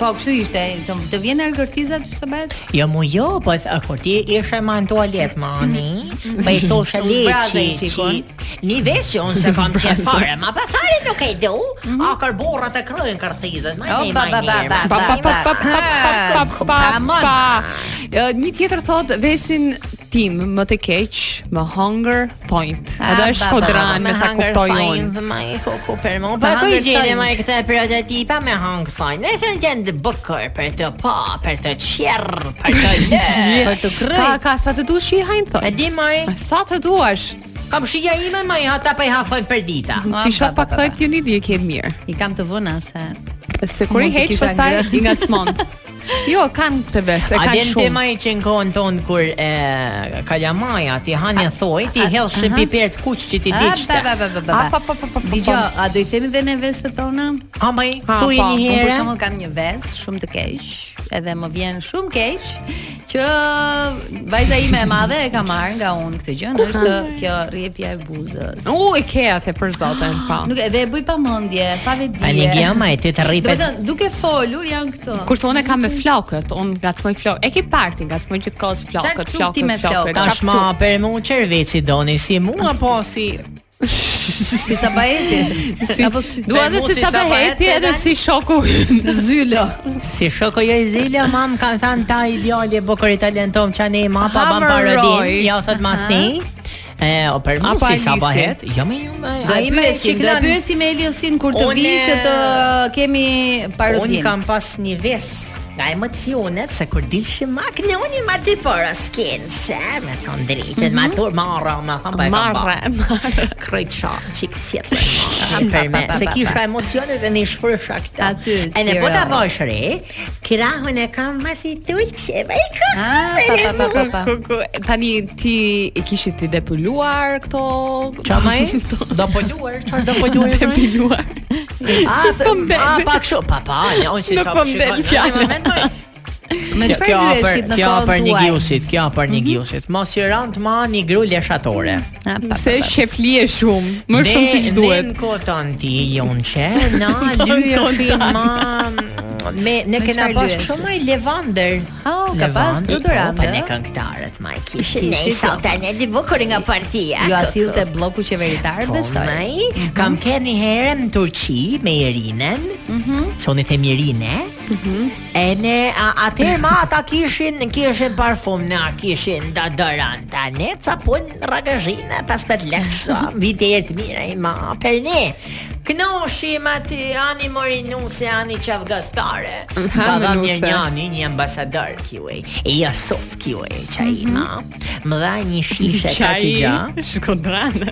S7: Po, kështu ishte, të, të vjen argërtizat sa bëhet?
S9: Jo, mu jo, po a, kur ti ishe ma në tualet, mani, po i thoshe
S7: U
S9: le
S7: zbraze i
S9: qi, qi,
S7: qiku,
S9: një vesh që unë se kam qenë fare, ma pasari nuk e du, a kërborat e kryen kërthizën, ma
S7: O,
S9: ne,
S7: ba, ba,
S9: ma
S7: ba,
S9: ne,
S7: ba,
S9: ma
S8: Pa pa pa pa pa pa pa pa
S7: Kamon.
S8: pa Eh, Një tjetër thot vesin tim më të keq më hunger point
S7: Ah,
S8: Edhe
S7: ba,
S8: është
S7: ba,
S8: kodran me sa kuptoj unë
S9: Dhe ma e koku për mu
S7: Pa
S9: Pa ku i
S7: hunger
S9: gjeni
S7: find.
S9: ma e këta prototipa me hangë fajnë Dhe thënë të ndë bëkër për të pa, për të qerë, për të gjë
S7: Për të
S8: Ka
S7: kryer.
S8: ka sa të duash i hajnë thot
S9: E di maj,
S8: Sa të duash
S9: kam shia ime maj, hata pa i hafën për dita
S7: Ah,
S8: Ti
S7: ba,
S8: shoh
S7: ba,
S8: pak
S7: ba,
S8: thot ju një di e ke mirë
S7: I kam të vëna se.
S8: Se kur i
S7: Mund të
S8: heq
S7: kisha
S8: pastaj
S7: ngrënë.
S8: i ngacmon <laughs> Jo, kanë këtë verse,
S9: A
S8: kanë
S9: vjen tema
S8: shumë
S9: i që në kohën tonë kur e, kalamaja ti hanë e thoi, ti hellë shën piper të kuq që ti
S7: A, ba,
S9: diqte.
S7: Ah, ba, ba, ba, ba.
S8: A, pa, pa, pa, pa, pa,
S7: Digjo,
S8: pa.
S7: a do i themi dhe ne veset tona?
S9: A maj,
S8: Ha, po,
S9: thuj një
S8: unë
S7: Unë për
S9: herë.
S7: shembull kam një ves shumë të keq, edhe më vjen shumë keq që vajza ime e madhe e ka marrë nga unë këtë gjë, është kjo rrjepja e buzës.
S8: U, e ke atë për zotin, po. pa.
S7: <gasps> Nuk edhe e bëj pa mendje, pa vedi.
S9: A një gjama e ty të
S7: Do të
S9: rripet.
S7: thënë, duke folur janë këto.
S8: Kurse unë e kam me flokët, unë ngacmoj flokët. E ke parti, ngacmoj gjithkohës
S7: Çfarë
S8: flokët,
S7: qufti me
S8: flokët, flokët.
S7: flokët?
S9: Tash ma për mu qerveci doni si po, mu apo
S8: po
S9: si
S7: Si
S9: <laughs>
S7: sabajeti.
S8: Si,
S7: Apo si
S8: dua Po, edhe
S9: Për
S7: <laughs>
S9: mu
S8: si
S9: si
S8: sa beheti
S9: sabaheti
S8: edhe
S9: edhe-
S8: si shoku. <laughs>
S7: zylo.
S9: si shoko jo i zila mam kanë thënë ta i djali e bukur i talentom që ne ma pa ban
S8: Hammer
S9: parodin
S8: Roy.
S9: ja thot mas ni e o për mu
S8: Apo
S9: si
S8: Alisi.
S9: sabahet jo me ju me
S7: Do
S9: a
S7: e
S9: ime
S7: pyesim, do e
S9: qiklan-
S7: pyesim Eliosin kur të
S9: Unë-
S7: vi që të kemi
S9: Unë
S7: parodin.
S9: kam pas një ves nga emocionet se kur dilshim makne unë i ma dy pora s'ken se me thonë
S7: Mhm.
S9: drejtën ma tur marra ma thonë pa e kam
S8: Marre, marre.
S9: krejt sha qik sjetë
S7: <laughs>
S9: për me se kisha emocionet e një shfrysha këta
S7: Aty,
S9: e ne po
S7: tjera.
S9: ta vash re krahun e kam masi tulqe ma i kuku
S7: Ah, pa, pa, pa, pa, pa.
S9: <laughs>
S8: Tani ti i kishit ti depyluar këto
S9: Qamaj, do po luar, çfarë do po
S7: <laughs>
S9: luar?
S8: Depiluar.
S9: A,
S8: Si s'po mbel.
S9: a, ah, pak shumë, pa, pa, ne, unë si
S8: Nuk
S9: sa
S8: po mbel
S9: shikon, në
S8: fjala.
S9: moment, po,
S7: Me
S9: Kjo-
S7: çfarë
S9: kjo
S7: lyeshit
S9: për-
S7: në
S9: Kjo për
S7: kohën
S9: një
S7: tuaj? Mhm.
S9: gjusit, kjo për një gjusit. Mos i rant ma një gru leshatore.
S7: Ah, pa, pa,
S8: Se
S7: pa.
S8: sheflie shumë, Mm. më shumë se
S9: Ne
S8: ç'duhet.
S9: në koton ti, Jonçe,
S7: <laughs>
S9: na lyeshin ma... Me, ne
S7: Me
S9: kena
S7: çfarë
S9: pas
S7: lyeshe?
S9: shumë i levander.
S7: Ah, ka pas
S9: Levander,
S7: deodorant,
S9: po, Po ne
S7: ë?
S9: këngëtarët ma i kishin.
S7: Kishin,
S9: Ne i
S7: po.
S9: salta ne di bukur nga partia.
S7: Ju asillte bloku qeveritar,
S9: Po,
S7: besoj.
S9: maj, kam kenë një herë në Turqi me Irinen, që unë i them Irine, e ne, a, atëherë ma ata kishin, kishin parfum, na kishin deodorant, a ne ca pun ragazhina, 15 lekë, shto, vite e të mira i ma, per ne, knoshim aty, ani morinuse, ani qavgastare, ka dha një
S8: Morinuse.
S9: njani, një ambasador kjuaj, e Jasuf kjuaj, qaj ma, më dha një
S6: <laughs>
S9: shishe ka që gja, <laughs>
S8: shkodranë.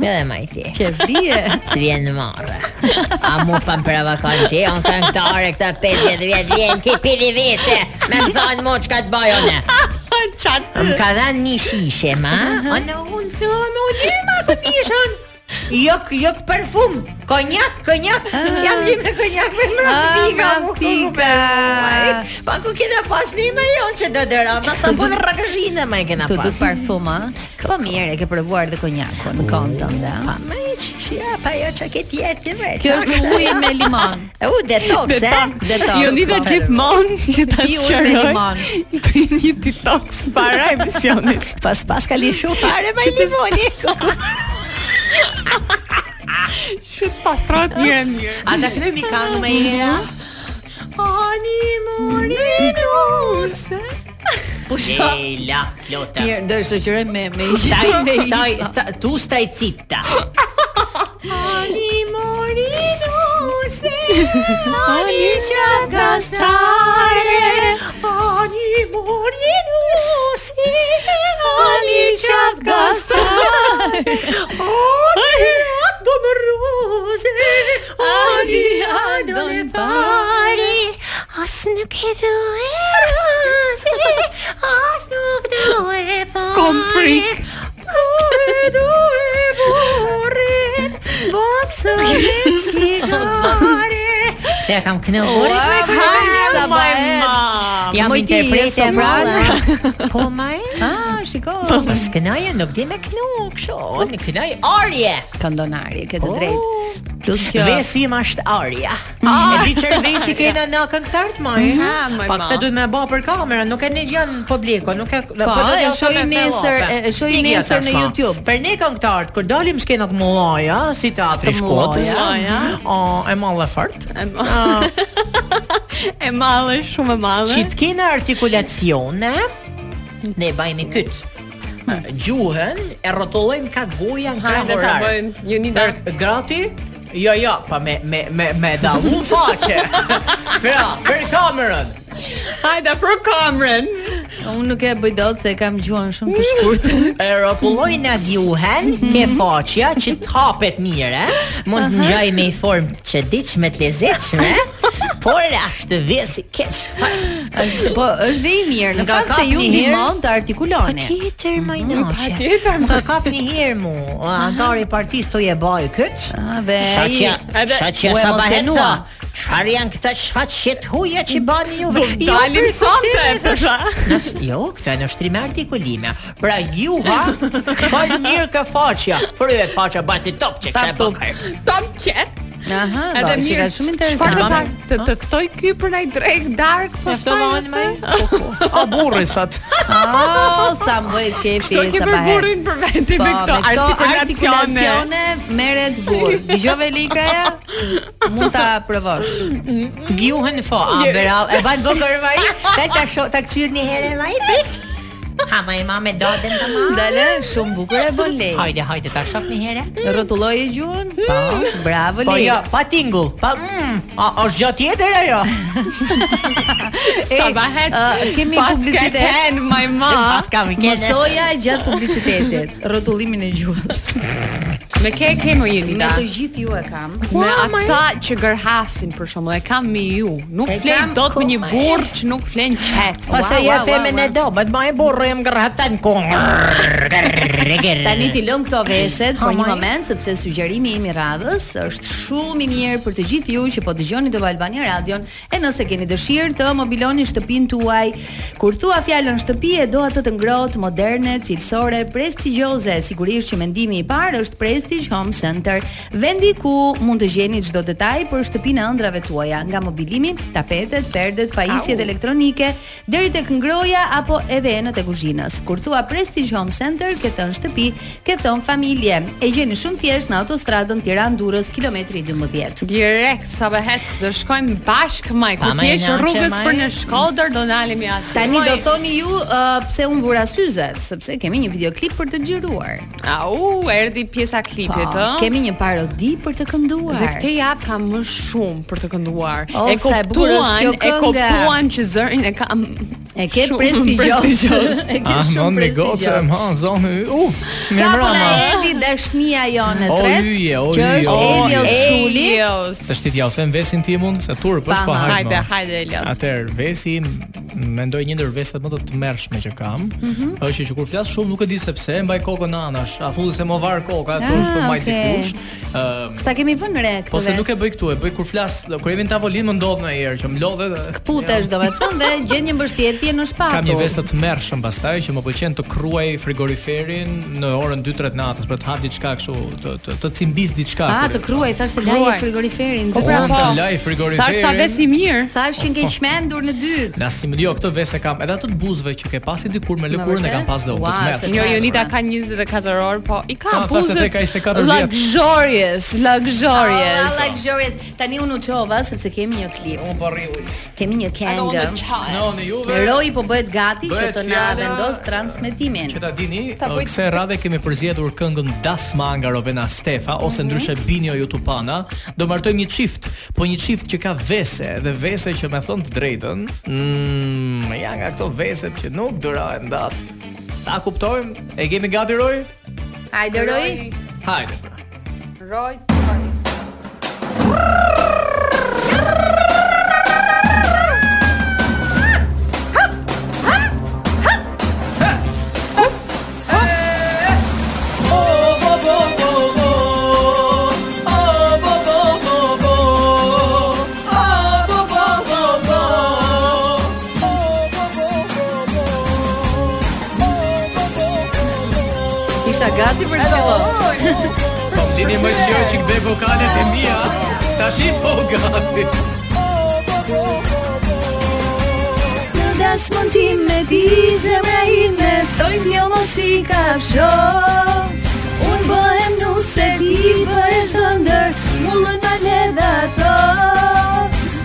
S9: me dhe majti.
S7: <laughs> Që bie.
S9: <laughs> Së vjen në marrë A mu pa më pravakon ti Unë këngëtare këta 50 vjet Vjen ti pili vese Me më thonë mu që ka të bajone Më ka dhenë një shishe ma Unë unë fillova me u ma Ku ti ishën Jok, jok parfum Konjak, konjak Jam li me konjak me mërë të pika
S7: Ah, ma
S9: Mu ku ku
S7: pika.
S9: përmuaj Pa ku kena pas një me jonë që do dëra Ma sa punë rëgëshinë ma e kena
S7: Të
S9: pas
S7: du parfum, a? Po mirë, e ke provuar dhe konjakun në kohën tënde, a?
S9: Pa me që shia Pa jo që ke tjetë me
S7: Kjo është uji me limon.
S9: E <laughs> u detox, e? Detox.
S8: Jo nida
S9: po.
S8: gjithmonë që ta
S7: Pi ujë me limon.
S8: sqaroj. Pi një detox para emisionit.
S9: <laughs> Pas pas ka lishu fare me
S8: <laughs>
S9: limoni.
S8: Shit pastrohet mirë e mirë.
S9: A ta kthemi këngë me era? Mhm. Ani morinose.
S7: Pusho.
S9: Leila, Lota.
S7: Po Mirë, do e shoqëroj me me
S9: Staj,
S7: me
S9: staj,
S7: isa.
S9: sta- tu staj citta. Ani morinose. <laughs> Ani çavgastare. Ani morinose. Ani çavgastare. Ani adon rose, ani adon pari, as nuk e du e rose, as nuk po du e pari.
S8: Kom frik.
S9: Du e du e borin, bocë e cigare. Ja kam kënë
S7: Ua, ha, sa bëhet.
S9: Jam
S7: moj ti je
S9: interprete
S7: sopran.
S9: malla. Po ma e?
S7: Ah, shiko.
S9: Po mos kënaje, nuk di me kënu, kështu. Unë kënaj arje.
S7: Këndonari, ke të
S9: Oh.
S7: drejtë. Plus që
S9: Vesi im është Arja. Ah, e di çfarë vesi kena na këngëtar të maj.
S7: Mhm,
S8: Ah, moj
S9: Pa
S8: ma.
S9: këtë duhet më bë për kamerën, nuk e ne gjan publiko, nuk e po
S7: Po,
S9: do
S7: e
S9: t'ja shoh
S7: shohim
S9: me
S7: nesër,
S9: kallafe.
S7: e- e shohim
S9: Një gjë
S7: nesër në
S9: tashma.
S7: YouTube.
S9: Për ne këngëtarët, kur dalim skenat më mëdha, si teatri i
S7: Të
S9: Shkodrës,
S8: mëdha.
S9: Mhm. o e mallë fort.
S8: E madhe, shumë e madhe.
S9: Qit kena artikulacione, ne bajmë kyt.
S7: Hm.
S9: Gjuhën e rrotullojmë ka goja në
S8: Ha,
S9: krahë
S8: ne ta
S9: horar.
S8: bëjmë një një
S9: Dar grati? Jo, jo, pa me me me me dallu
S8: <laughs>
S9: faqe. pra, për kamerën.
S8: Hajde për kamrën.
S7: unë nuk e bëj dot se e kam gjuhën shumë të <laughs> shkurtë.
S9: E rrotulloj në gjuhën me
S8: Mhm.
S9: faqja që të hapet mirë, ë? mund të ngjaj me një formë që diçme të lezetshme, por ashtë vesi keq.
S7: Është po është dhe i mirë, në
S9: Nga
S7: fakt
S9: kap
S7: se ju
S9: një herë-
S7: ndihmon të artikuloni.
S9: Tjetër më naqe.
S8: tjetër,
S9: më ka kap një herë mu. Antari i partisë to e baj kët.
S7: Ah, Dhe ai
S9: Shaqja,
S8: Edhe-
S9: shaqja
S7: u
S9: sa bahet
S7: emocionua.
S9: tha. Çfarë janë këta shfaqjet huaja që bani ju? Jo,
S8: dalim
S9: për
S8: sonte,
S9: zotin,
S8: thosha.
S9: Nës- Jo, këta janë shtrime artikulime. Pra juha
S7: <laughs>
S9: ka mirë ka faqja. Fryhet faqja basi top që
S7: Tap
S9: çe
S7: top.
S9: bëkaj.
S8: Top qe.
S7: Aha, do,
S8: Edhe
S7: që
S8: mirë.
S7: ka shumë
S8: Çfarë do ta
S7: interesant.
S8: të të ftoj ky për ai drek dark po ftohen më.
S7: <laughs>
S9: Po, A burri sot.
S7: Oh, sa më bëhet qefi
S8: Kto ke
S7: sa
S8: për
S7: bahet.
S8: burrin për vete
S7: Po,
S8: me
S7: me
S8: këto artikulacione.
S7: merret burr. Dëgjove likraja? Mund ta provosh.
S9: Gjuhën fo, a bera, e ban bokër vaj. Ta ta shoh, ta kthyer një herë vaj. Ha, ma i mame dodën të ma.
S7: Dale, shumë bukur e bën lej.
S9: Hajde, hajde, ta shoh një herë.
S7: Rrotulloi e gjuhën? Po, bravo
S9: Po
S7: lej.
S9: jo, pa tingull, pa mm, a është gjë tjetër ajo?
S8: Sa bahet.
S7: ë, kemi publicitet.
S8: Ken
S9: <laughs>
S8: my mom.
S9: Pas kam i kene.
S7: Mësoja gjatë publicitetit, rrotullimin e gjuhës.
S8: Me ke ke më jeni
S7: Me
S8: da.
S7: të Oh gjithë ju e kam.
S8: Me ata që gërhasin për shembull, e kam me ju. Nuk
S9: E
S8: flen
S9: kam
S8: dot me një
S9: koma, e.
S8: burr që nuk flen qet.
S9: Pastaj
S8: Wow,
S9: ja
S8: wow,
S9: femën
S8: wow,
S9: e do, më të bëj burrë jam gërhatan kon.
S7: <laughs> Tani ti lëm këto veset për një
S9: Hamaj.
S7: moment sepse sugjerimi im i radhës është shumë i mirë për të gjithë ju që po dëgjoni Top Albania Radion e nëse keni dëshirë të mobiloni shtëpinë tuaj. Kur thua fjalën shtëpi e do atë të ngrohtë, moderne, cilësore, prestigjioze. Sigurisht që mendimi i parë është Prestige Home Center, vendi ku mund të gjeni çdo detaj për shtëpinë e ëndrave tuaja, nga mobilimi, tapetet, perdet, pajisjet elektronike deri tek ngroja apo edhe enët e kuzhinës. Kur thua Prestige Home Center, ke thënë shtëpi, ke thënë familje. E gjeni shumë thjesht në autostradën Tiranë-Durrës, kilometri 12.
S8: Direkt sa bëhet do shkojmë bashkë maj
S9: Pa,
S8: Kur
S9: maj,
S8: t'jesh
S9: na, që,
S8: rrugës
S9: maj.
S8: për në Shkodër Do nalemi atë
S7: Tani do thoni ju uh, pse un vura syzet, sepse kemi një videoklip për të xhiruar.
S8: Au, erdi pjesa klipit
S7: Po,
S8: ë?
S7: kemi një parodi për të kënduar.
S8: Dhe këtë jap ka më shumë për të kënduar.
S7: O,
S8: e
S7: sa e bukur është kjo
S8: kuptuan, e
S7: kënga.
S8: kuptuan që zërin e kam.
S7: E ke
S8: shumë <laughs>
S7: prestigjos. <laughs>
S8: prestigjos.
S7: e ke
S4: Ah, më
S7: shumë
S4: në gocë,
S7: prestigjos.
S4: ma, zonë, u,
S7: Sa
S4: mirë
S7: po na
S4: mbrëma.
S7: erdhi dashnia jone
S4: O,
S7: tret,
S4: yje, o,
S7: që
S4: yje,
S7: është
S4: o,
S7: Elios
S4: yje.
S7: Shuli.
S4: Të shtit ja, u them vesin timun, se turp
S7: Pa,
S4: është pa
S7: ma,
S4: hajtë.
S8: Hajde,
S4: ma.
S8: hajde Elios.
S4: Atëherë vesi m- mendoj një ndër vesat më të tmerrshme që kam,
S7: Mhm.
S4: është që kur flas shumë nuk e di se pse, mbaj kokën anash, a fulli se më var koka, ato
S7: Ah,
S4: është për mbaj
S7: okay.
S4: dikush. Ëm,
S7: S'ta kemi vënë re këtë.
S4: po se
S7: vet.
S4: nuk e bëj këtu, e bëj kur flas, kur jemi në tavolinë më ndodh ndonjëherë që më lodhet. dhe-
S7: Putesh domethënë dhe gjen një mbështetje në shpaku.
S4: Kam një vestë të mërshëm pastaj që më pëlqen të kruaj frigoriferin në orën 2-3 të natës për të hap diçka kështu, të të, të cimbis diçka.
S7: Ah,
S4: kur-
S7: të kruaj, thash se laje
S8: Kruaj.
S7: frigoriferin.
S4: Po,
S7: Po
S4: pra,
S7: pra,
S4: po. Laj frigoriferin.
S8: Thash sa besi mirë.
S7: thash që
S4: Po.
S7: ke çmendur në dy.
S4: Na simulio këtë vesë e jo, kam, edhe ato të buzëve që ke pasi dikur me lëkurën e kam pas dhe unë.
S7: Ua,
S4: të
S7: është
S4: mërshëm.
S8: Jo, Jonita
S7: Shumë.
S8: ka 24 orë, po i ka
S4: Ta, thashtë se
S8: buzët.
S4: te ka 24 vjet.
S8: Luxurious, Oh,
S7: Oh,
S8: luxurious.
S7: Luxurious. Tani unë u çova sepse kemi një klip.
S4: Unë po rriu.
S7: Kemi një
S8: Ano në
S7: këngë.
S8: qaj.
S4: No, në juve.
S7: Roi po bëhet gati që
S4: Bëhet
S7: të na
S4: fjala-
S7: vendos transmetimin.
S4: Që ta dini,
S8: Ta bëj-
S4: këse radhe kemi përzjedhur këngën Dasma nga Rovena Stefa ose ndryshe Binjo Jutupana, do martojmë një çift, po një çift që ka vese dhe vese që me thon të drejtën, mm, ja nga këto veset që nuk durohen dat. Ta kuptojmë? E kemi gati Roj?
S7: Hajde Roi.
S4: Hajde. pra.
S7: isha gati për të filluar.
S4: Po <laughs> flini më shoj çik be vokalet e mia. Tash i po gati.
S6: Në dasmën tim me ti zemra ime Thoj kjo mos i kafsho Unë bëhem nuse ti bëhesh thëndër Mullën ma le dhe ato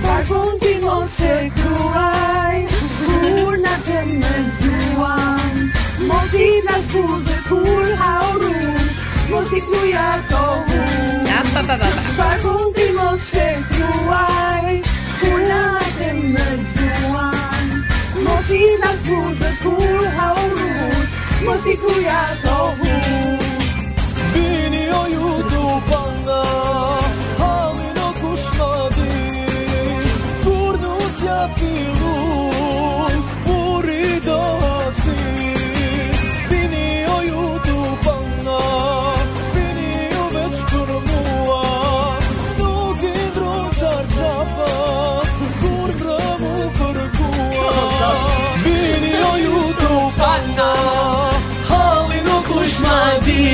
S6: Par pun ti mos e kruaj Kur në të më gjuan Mos i në skuze kur haurun Mos i kruja to unë
S8: Ja, pa, pa, pa, pa.
S6: Par pun ti mos e kruaj Kur në të më gjuan Mos i në skuze kur haurun Mos i kruja to unë
S10: Bini o ju dupanga Halin o kushnadi Burnus ja pilun Buri dasi Bini o ju dupanga Bini u veç kërmua Nuk i ndron qarqafa Kur ndrëmu fërgua Bini o ju dupanga Halin o kushnadi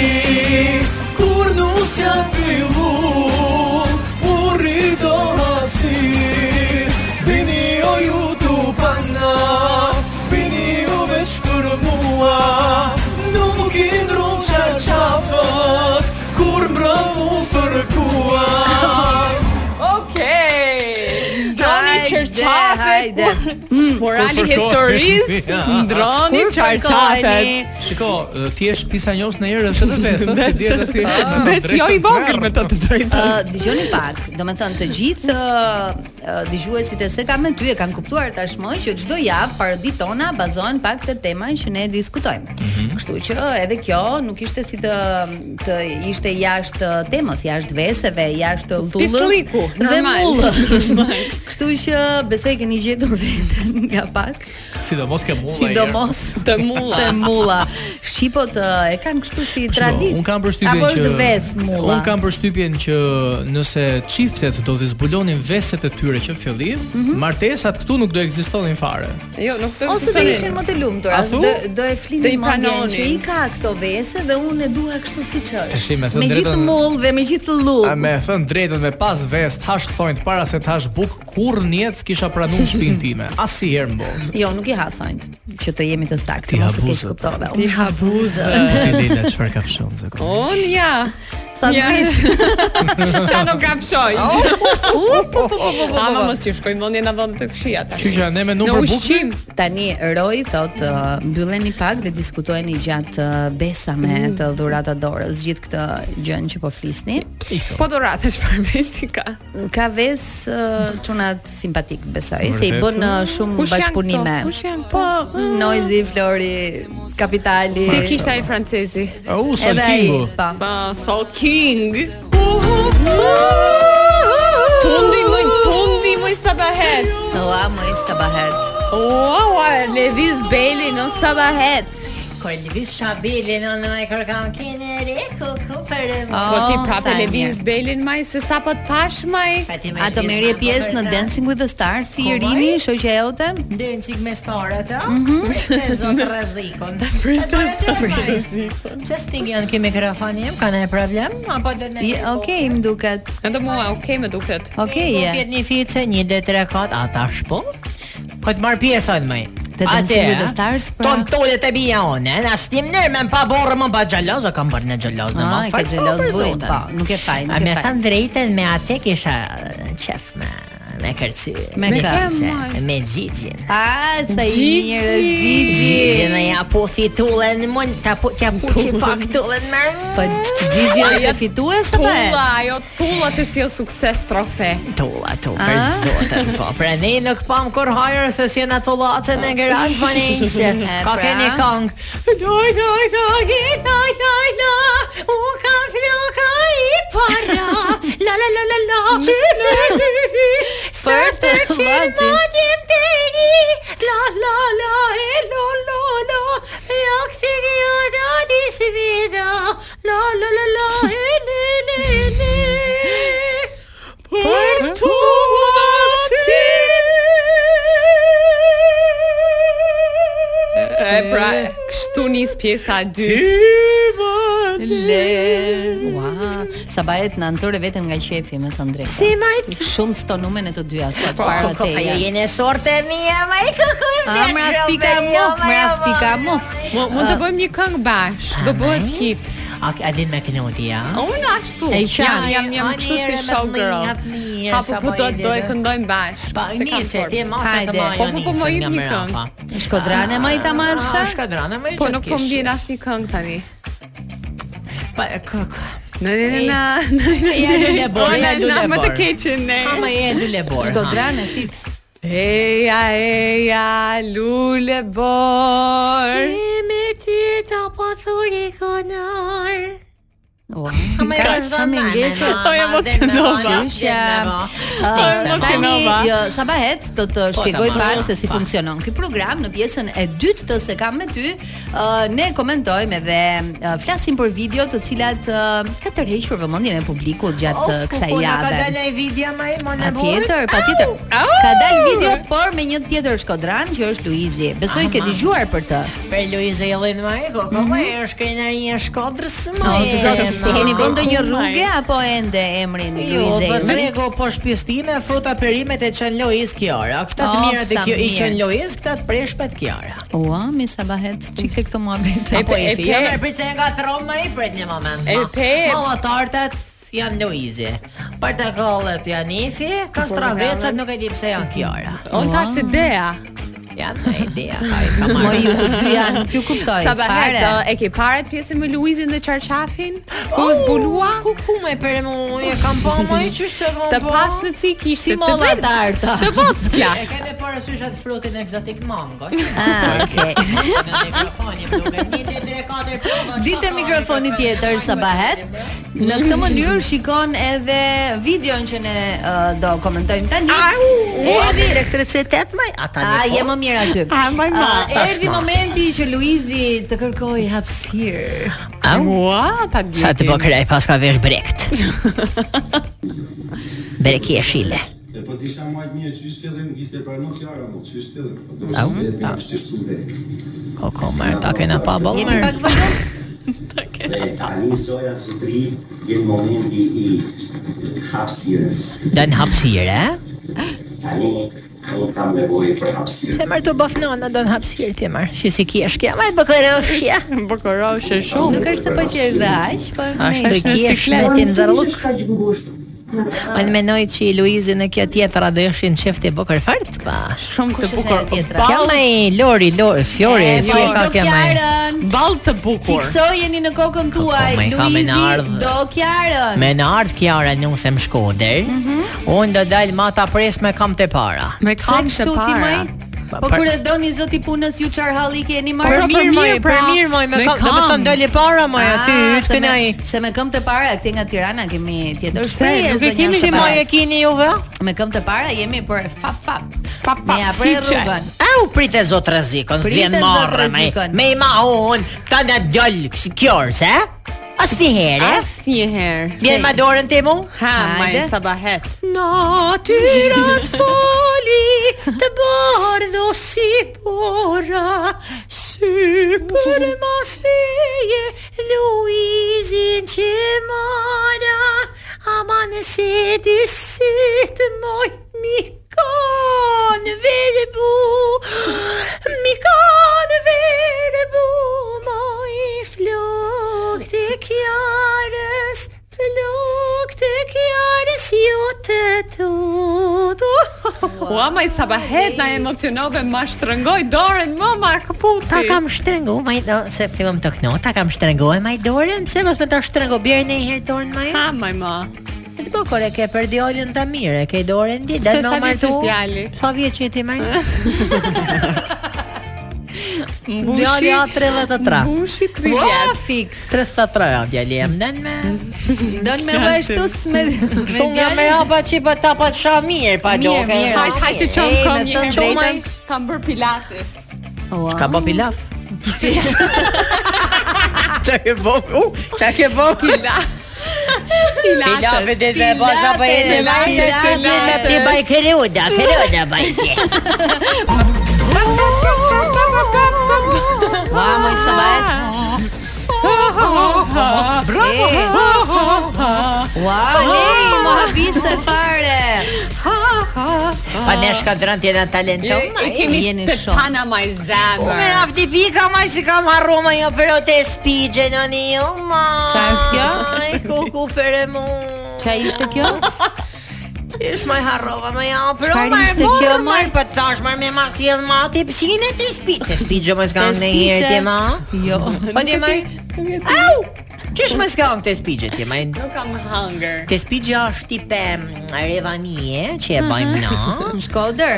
S10: Kur nusja pilu Buri do hapsi Bini o ju dupanga Bini u veç për mua Nuk i ndron qa qafët Kur mbrëmu fërkua
S8: Okej. Ndroni
S7: Hajde,
S8: çarçafet.
S7: hajde.
S8: por- Morali
S4: Kur fërkoheni.
S8: historisë
S4: <laughs> Ja.
S8: ndroni
S7: Kur
S8: çarçafet.
S7: fërkoheni?
S4: Shiko, ë, ti je pisanjos në herë është edhe
S8: <laughs>
S4: vesë, si dihet se si.
S8: Bes jo i vogël me të të drejtë.
S7: Ë, dëgjoni pak. Domethënë të gjithë ë, ë, dëgjuesit e se kam me ty e kanë kuptuar tashmë që çdo javë paroditë tona bazohen pak te tema që ne diskutojmë.
S4: Mhm.
S7: Kështu që edhe kjo nuk ishte si të të ishte jashtë temës, jashtë veseve, jashtë thullës
S8: Pislliku,
S7: dhe
S8: normal.
S7: mullës. Kështu që besoj keni gjetur veten nga pak,
S4: Sidomos ke mua.
S7: sidomos
S8: Të mulla.
S7: Te mulla. Shqipot ë, e kanë kështu si traditë.
S4: Un kam përshtypjen
S7: Apo është
S4: që
S7: ves mulla.
S4: Un kam përshtypjen që nëse çiftet do të zbulonin veset e tyre që në fillim,
S7: Mhm.
S4: martesat këtu nuk do ekzistonin fare.
S8: Jo, nuk të
S7: Ose do ishin më të lumtura,
S4: A
S7: as
S4: thu?
S7: do do e
S8: Do
S7: flinin
S8: i
S7: mendjen që
S8: pranonin.
S7: i ka këto vese dhe unë e dua kështu siç
S4: Tashi,
S7: është.
S4: me thënë
S7: Me gjithë
S4: drejtën-
S7: mull dhe me gjithë
S4: A
S7: lull.
S4: me e thënë drejtën me pas vest, hash thonjt para se të hash buk, kur njetë s'kisha pranu në shpinë
S7: <laughs>
S4: time. Asnjëherë më botë.
S7: Jo, nuk i ha thonjt, që të jemi të saktë,
S4: Ti
S7: mos u keq
S4: abuzët.
S7: kuptova.
S8: Ti habuzë.
S4: Po ti Leila çfarë ka fshon se kur.
S8: Un ja.
S7: Sa të
S8: Ja.
S7: keq.
S8: Qa nuk kam shoj.
S7: Oh, U, po, po, po, po, po,
S8: Ama
S7: po.
S8: mos që shkojnë mendje na vonë të këshia ta.
S4: Kështu që ne me
S8: Në
S4: numër bukë.
S8: ushqim.
S7: Tani Roy thot uh, mbylleni pak dhe diskutojeni gjatë uh, besa me të dhurata dorës, gjithë këtë gjën që po flisni.
S8: Po dorata çfarë mesi ka?
S7: Ka ves uh, çunat simpatik besoj, se i
S4: Vërtet?
S7: bën uh, shumë
S8: Kush janë
S7: bashkëpunime.
S8: këto? Kush janë këto? Ah.
S7: Po, Noizi, Flori, Kapitali.
S8: mm. Si kishte ai francezi?
S4: Au,
S7: edhe ai.
S4: saltingu.
S7: Po.
S8: Pa Soul King. Tundi më tundi më sabahet.
S7: Ua, më i sabahet.
S8: Ua, ua, Levis Bailey në sabahet.
S9: Kur lëviz shabili në në e kërkam kine re ku ku për më
S8: Po
S7: Oh,
S8: ti prapë
S7: sa
S8: Levis
S7: mirë.
S8: Bailey maj se sapo tash maj.
S7: A të merje pjesë në Dancing with the Stars si Irini, shoqja e jote?
S9: Ndën qik me starët, a?
S7: Mhm.
S9: Pritë zotë
S7: <laughs>
S9: rëzikon Pritë zotë rëzikon Pse stig janë ki mikrofon jem, ka në problem? Apo do të
S7: Je, Okej, më duket.
S8: Edhe mua, okay më duket.
S7: Okej,
S9: Po
S7: je.
S9: fjet një fice, një dhe tre kat, a tash po? Ko të marr pjesën më.
S7: Te Dancing with the Stars, pra?
S9: Ton tolet e bija unë, na stim nër me pa borë më pa xheloz, o kam bërë në xheloz në
S7: Ah,
S9: më
S7: e ke
S9: fal.
S7: xheloz burin, po, nuk e faj, nuk
S9: A
S7: e
S9: me
S7: faj.
S9: thënë drejtën me atë kisha uh, qef me me kërcy.
S7: Me
S9: një
S7: kë?
S9: fice, me gjigjen.
S7: A, sa i
S8: Gigi.
S7: mirë Gigi.
S9: Gjigjen e ja puthi tullën, mund ta pu t'ja puçi pak tullën më.
S7: Po Gigi është e fitues apo? e?
S8: Tulla, ajo tulla të si sukses trofe.
S9: Tulla, tu, për zotën, po, pra ne nuk pam kur hajër se si në tullacën e gërat <laughs> faninqë,
S7: E,
S9: ka
S7: pra.
S9: keni kong. Loj, loj, loj, loj, loj, loj, u ka floka i para, la, la, la, la, la, <laughs> hy, hy, hy, hy, së
S7: Për
S9: të
S7: tullacin.
S9: qërmanjem të ri, la, la, la, e, lo, lo, lo, ja, kësi kjo da di svida, la, la, la, la, e, le, le, le. Për tu
S8: É E pra, kështu nis pjesa e dytë.
S10: Ima
S7: le. Ua, sa bahet në anëtore vetëm nga qefi me të drejtë.
S9: Si ma i th...
S7: Shumë stonume në të dyja sot
S9: Po,
S7: para
S9: po, po, ju
S7: teje.
S9: jeni sorte mija, ma i kërkoj
S7: A mraz pika mu, mraz pika mu.
S8: Mu- Mund të bëjmë një këngë bash, do bëhet hit.
S9: A, a din me kënoti, ja?
S8: Unë ashtu.
S7: E
S8: jam
S7: qartë.
S8: jam jam
S9: Ani,
S8: kështu si
S9: ani,
S8: showgirl.
S9: ani, ani,
S8: Apo
S9: sa
S8: po
S9: po
S8: do
S9: i
S8: do e
S9: vjen.
S8: këndojmë bash.
S9: Pa,
S8: se kam
S9: nise,
S8: formë.
S9: ti e masa
S7: Hajde.
S9: të maja
S8: Po, po, po, më i një Ah,
S7: Shkodrane më i ta
S9: Ah,
S7: marrsha?
S9: Shkodrane më i
S8: Po nuk po më vjen asnjë këngë tani. Na na na na. <laughs>
S9: <laughs> Ja lule bor,
S8: Po,
S9: ja
S8: na, na,
S9: lule
S8: Më të
S9: bor.
S8: keqin ne.
S9: Ama je lule bor. Ah,
S7: Shkodrane fix.
S8: Eja, eja, lule bor.
S9: Si me ty ta po thuri konar.
S7: Ua.
S9: Ama
S7: Ka
S9: e vazhdon
S7: shumë i ngecur.
S8: Po, emocionova.
S7: Qyshja.
S8: Po, emocionova.
S7: Tani, jo, sa bëhet të
S9: Po,
S7: të shpjegoj
S3: tamam.
S7: pak se si funksionon ky program në pjesën e dytë të se kam me ty. ë, ne komentojmë edhe ë, flasim për video të cilat ë, ka tërhequr vëmendjen e publikut gjatë ë, kësaj
S9: Ka
S7: jave.
S9: dalë ai video më e më në burr.
S7: Patjetër, patjetër. Ka dalë video por me një tjetër shkodran që është Luizi.
S9: Ah,
S7: Besoj ke dëgjuar për të.
S9: Për Luizë Jellin më e koko, më e është krenaria e Shkodrës më
S7: O
S9: e.
S7: zot, e keni
S9: ma.
S7: vënë ndonjë rrugë apo ende emrin
S2: Jo,
S7: Luizi?
S2: po trego po shpjestime, fruta perimet e qen Lois Kiara. Këta të
S8: Oh,
S7: O,
S2: mirat e
S7: sa
S2: kjo i
S7: mirë.
S2: qen Lois, këta të preshpet Kiara.
S7: Ua, mi sa bahet, që ke këto muhabet?
S8: E po, e
S9: Jo,
S8: po.
S9: më prit se nga throm më i prit një moment.
S8: E
S9: ma.
S8: pe-
S9: Malla tartat janë Luizi. Portokallet janë Ifi, kastravecat nuk e di pse janë Kiara.
S8: Unë thash se dea.
S9: Janë në ideja, ka i ka
S7: Mo
S9: marrë.
S7: ju të dy janë, ju kuptoj.
S8: Sa bëhet
S7: fare.
S8: ë, e ke paret pjesën me Luizin dhe Qarqafin? Ku zbulua?
S9: Oh, Ku ku më për mu, e kam pa më i çu se kam
S8: Të pasmet si kishte
S7: si molla
S8: vërtet-
S7: tarta.
S8: Të vogla.
S9: E kemi parasysh atë frutin ekzotik mango.
S7: <laughs> Ah, okay.
S9: Në mikrofoni duket 1 2 3 4 5.
S7: Dite mikrofoni tjetër sa bëhet. Në këtë mënyrë shikon edhe videon që ne ë, do komentojmë tani. Erdi
S9: elektricitet më? Ata
S7: A je më mirë aty.
S9: A, më mirë.
S7: Ë, Erdi momenti që Luizi të kërkoj hapësirë.
S8: Ua, ta gjeti.
S9: Sa të po krej pas ka vesh brekt. Breki e shile.
S11: E po t'isha majt një që ishtë fillim, ishte pra nuk jara, po që ishtë fillim.
S9: Au,
S11: Po të ishtë shumë vekës.
S9: Koko merr, ta kena pa ball
S7: Jemi
S9: merr.
S7: pak vëllë.
S11: Dhe tani soja së tri, jenë momenti i hapsirës.
S9: Dan hapësirë, e?
S11: Tani, nuk kam nevojë për hapsirë.
S9: Se merr të bof nana don hapësirë ti merr. Shi si kiesh kja, më
S8: <laughs>
S9: të bëkëroshja. Bëkëroshe shumë.
S7: Nuk është se po qesh dhe aq, po
S9: Ashtë të kjesh me ti nxarlluk. Unë menoj që i Luizi në kjo tjetra do ishin qefti bukër fart pa.
S8: Shumë të
S7: Kush është ajo
S8: bukur.
S7: tjetra?
S8: Ball-
S9: Kjo me i Lori, Lori, Fjori,
S7: E, po,
S9: si e ka
S7: do
S9: kjo me i?
S7: Kjarën.
S8: Ball të bukur.
S7: Fiksojeni në kokën tuaj.
S9: Po, me i ka me në
S7: Luizi
S9: ardhë.
S7: do Kjarën.
S9: Me në ardhë kjara nuse më shkoder, unë do dalë ma ta pres me kam të para.
S8: Me
S7: Sa
S8: kam të
S7: kështu ti më?
S8: para.
S7: Po
S9: Për-
S7: kur e doni zoti punës ju çarhalli keni
S9: Për
S7: marrë
S9: mirë, moj, për mirë, moj, me kam, do me thonë dali para, moj, aty,
S7: Ah, se
S9: yrtë
S7: me-
S9: në i.
S7: Se me këmbë të para këtej nga Tirana kemi tjetër
S8: Pse,
S7: shprehje.
S8: nuk e
S7: zonja
S8: kemi
S9: Si
S7: Sabahat.
S9: moj e kini juve?
S7: Me këmbë të para jemi për fap fap.
S8: Fap, fap,
S7: Ne ja prej
S8: fiqe.
S7: rrugën.
S9: Au, prite zot rëzikon,
S7: Prite,
S9: s'vjen
S7: zot
S9: marrë, me,
S7: rrezikon.
S9: me i ma unë, ta në djallë, si kjorë, se? Asë një herë, e?
S8: Asnjëherë.
S9: Vjen ma dorën të mu?
S8: Ah, Ha,
S7: Hajde.
S8: më sabahet.
S9: Natyra të fali të bardho si pora Sy për masleje Luizin që mara Ama nëse dy syt moj mi kanë verbu Mi kanë verbu moj flok të kjarës Flok të kjarës ju të tu
S8: <laughs> Ua, më sabahet na emocionove, ma shtrëngoj dorën më Mark Puti.
S9: Ta kam shtrëngu, maj, do, se fillom të këno, ta kam shtrëngu e maj dorën, pse mos me ta shtrëngu, bjerë në i herë dorën maj?
S8: Ha, më ma.
S9: Të po kore ke për djalin ta mirë, e ke dorën di,
S8: Se
S9: dal
S8: sa vjeç
S9: më martu. Po,
S8: është djali?
S9: Sa vjeç je ti më?
S8: Mbushi.
S9: Djali a 33.
S8: Mbushi 30.
S7: Ua, fiks.
S9: 33 a djali jam nën
S8: <laughs>
S9: me.
S7: Don me bëj ashtu me me
S9: Shumë nga
S7: djalin.
S9: me hapa që pa ta pa sha mirë pa
S7: Mirë,
S9: doke.
S7: mirë.
S8: Hajt, hajt të qëmë
S7: Ej,
S8: kom
S7: me
S8: një
S7: thënë
S8: herë.
S7: drejtën.
S8: Qomaj, Kam bërë pilates.
S7: Ua.
S9: Ka bë pilaf. <laughs> Çka ke bë? U, çka ke bë? Pilaf
S8: Pilates.
S9: e dhe baza pa e dhe
S7: Pilates,
S9: lajte se vjen me
S7: pilates.
S9: ti baj keruda, keruda baj ti.
S7: Ah,
S9: Ah.
S7: Ua, moj sabat. Bravo! Ua, po,
S9: Ah.
S7: lej, më habise fare. Ha ha.
S9: Pa ne shkadran tjena talento
S8: E- e kemi Jeni pe shumë. pana
S9: maj zemë Ume rafti pika maj si kam harru maj jo Pero te spigje në një jo maj Qa është kjo? Aj kuku për e mu Qa ishte kjo? Ish maj harrova maj jo Pero
S7: Çfarë
S9: maj
S7: ishte kjo,
S9: morë
S7: maj?
S9: maj Pa tash maj me mas jelë ma Te psine te spigje Te spigje maj s'kam në herë tje ma
S7: Jo.
S9: Po tje maj Au! Qesh maj s'kam te spigje tje maj
S8: Nuk kam hunger.
S9: Te spigja është tipe mm, revanie që e bëjmë na. Po,
S7: Në Shkodër.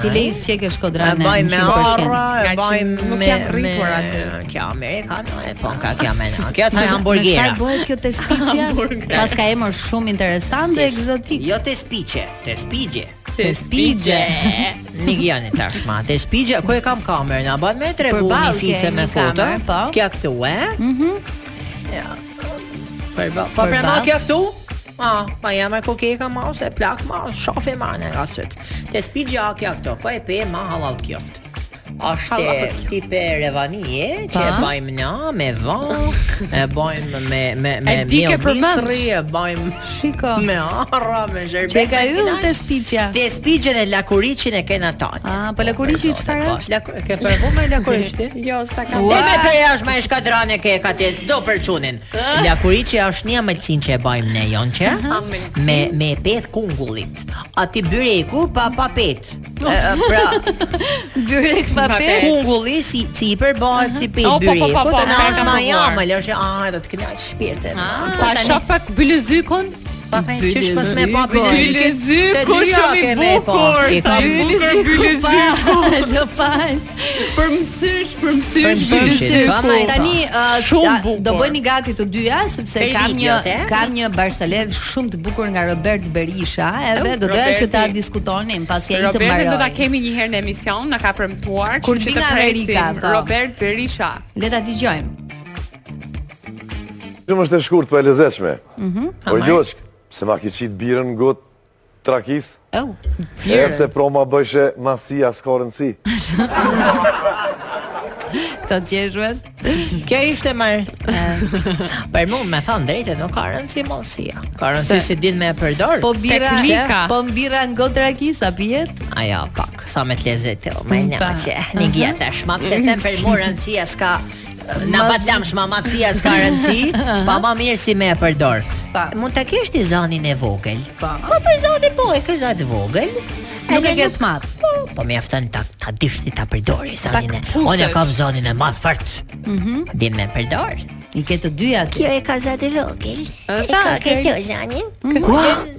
S7: Ti lejs që ke
S9: E
S7: Shkodran.
S9: bëjmë me
S7: 100%.
S9: orra, e
S7: Ka
S9: bëjmë
S7: qenë-
S9: me...
S7: nuk jam rritur
S9: me-
S7: aty.
S9: Kjo Amerikano e po ka kjo me na. Kjo të
S7: Me-
S9: hamburgera.
S7: me çfarë bëhet kjo tespiqja?
S9: <laughs> Hamburgera.
S7: Pas ka emër shumë interesant dhe
S9: Tes-
S7: egzotik.
S9: Jo te spiqe, te spigje.
S7: Tespigje.
S9: <laughs> Nuk janë tashma, te spigje, ku e kam kamerën, a bën me tregu një
S7: Përballë ke
S9: fice me
S7: një
S9: foto.
S7: kamerë, po.
S9: Kjo këtu, e? Mhm. Ja. Përballë. Po pra ma
S7: Përballë.
S9: kjo këtu? Ah, ma jam e kokeka ma ose plak ma, shofi ma në rasit. Te spigje a kjo këtu, po e pe ma halal kjoft. Ashtë tipe revanije që e
S8: Pa.
S9: bajmë na me vë, e bajmë me me me
S8: E di ke
S9: miell
S8: përmend.
S9: misri, e bajmë
S7: Shiko.
S9: me arra, me zherbet.
S7: Po. Që e ka
S9: me
S7: yll
S9: pinaj.
S7: te spiqja.
S9: Te spiqen e lakuriçin e kena tani.
S7: Ah, po lakuriçi çfarë është?
S9: Ke përvu me lakuriçti? jo, sa
S7: kam.
S9: Ti me për jashtë me shkadrane ke ka tes do për çunin.
S7: Ah.
S9: Lakuriçi është një amelcin që e bajmë ne jon që me me pet kungullit. Ati byreku pa pa pet. E, e,
S7: <laughs>
S9: Pra
S7: Byrek pape.
S9: kungulli si si i përbëhet si pet
S8: O, po, po,
S9: byreku.
S8: po, po,
S9: Po na
S8: po,
S9: është
S8: kam
S9: ma
S8: e marr.
S9: jamël, është ah, do të kënaq shpirtin.
S7: Ah,
S8: Ta shoh pak bylezykun.
S9: Pa pa qysh mos me pa
S8: Bylezykun shumë i bukur. Sa bukur
S9: <laughs>
S7: <laughs>
S8: bylezykun.
S7: Do fal.
S8: Përmsysh, përmsysh,
S9: Përmsysh,
S8: bylezykun.
S9: pa, ma, e ta.
S7: Tani uh,
S8: Shumë
S7: a-
S8: bukur.
S7: do bëni gati të dyja sepse
S9: Për
S7: kam një
S9: videot, e?
S7: kam një barsalet shumë të bukur nga Robert Berisha, edhe
S8: Oh,
S7: do doja që ta
S8: Roberti.
S7: diskutonim pasi ai të
S8: Robertin do ta
S7: mbaroj.
S8: kemi një herë në emision, na ka premtuar
S7: Kur
S8: kështu
S7: vi
S8: që
S7: nga
S8: të presim
S7: Amerika, po.
S8: Robert Berisha.
S7: Le ta dëgjojmë.
S12: Shumë është e shkurt për e lezeqme. Po
S9: Amaj.
S12: Ljoçk, se ma ki qitë birën në gotë trakis,
S9: Oh,
S12: e se pro ma bëjshe masia s'ka rëndësi.
S7: Këto gjeshmet.
S9: Kjo ishte
S7: <laughs>
S9: më Për mu me thënë drejtë nuk ka rëndësi mallësia. Ka rëndësi si din me e përdor.
S7: Po bira,
S8: Teknika.
S7: po mbira ngotra kisa pijet.
S9: Aja pak, sa me të lezet të me
S7: Mm,
S9: një
S7: pa.
S9: që Një gja të shma Pse them për mu rëndësia s'ka Në
S7: Mas-
S9: pat lam shma matësia s'ka rëndësi Pa ma mirë si me e përdor
S7: Pa.
S9: Mund të kesh ti zanin e vogël
S7: Pa.
S9: Po për zanin po e ke zanin vogël
S7: Nuk e
S9: Edhe
S7: ke
S9: nuk-
S7: të madh.
S9: Po, po mjafton ta ta dish ti ta përdori zanin. e-
S8: këpusesh.
S9: Unë e kam zanin e madh fort. Mhm. Din me përdor.
S7: I ke të dyja ti.
S9: e ka zatë vogël.
S8: E ka këtë
S9: zanin.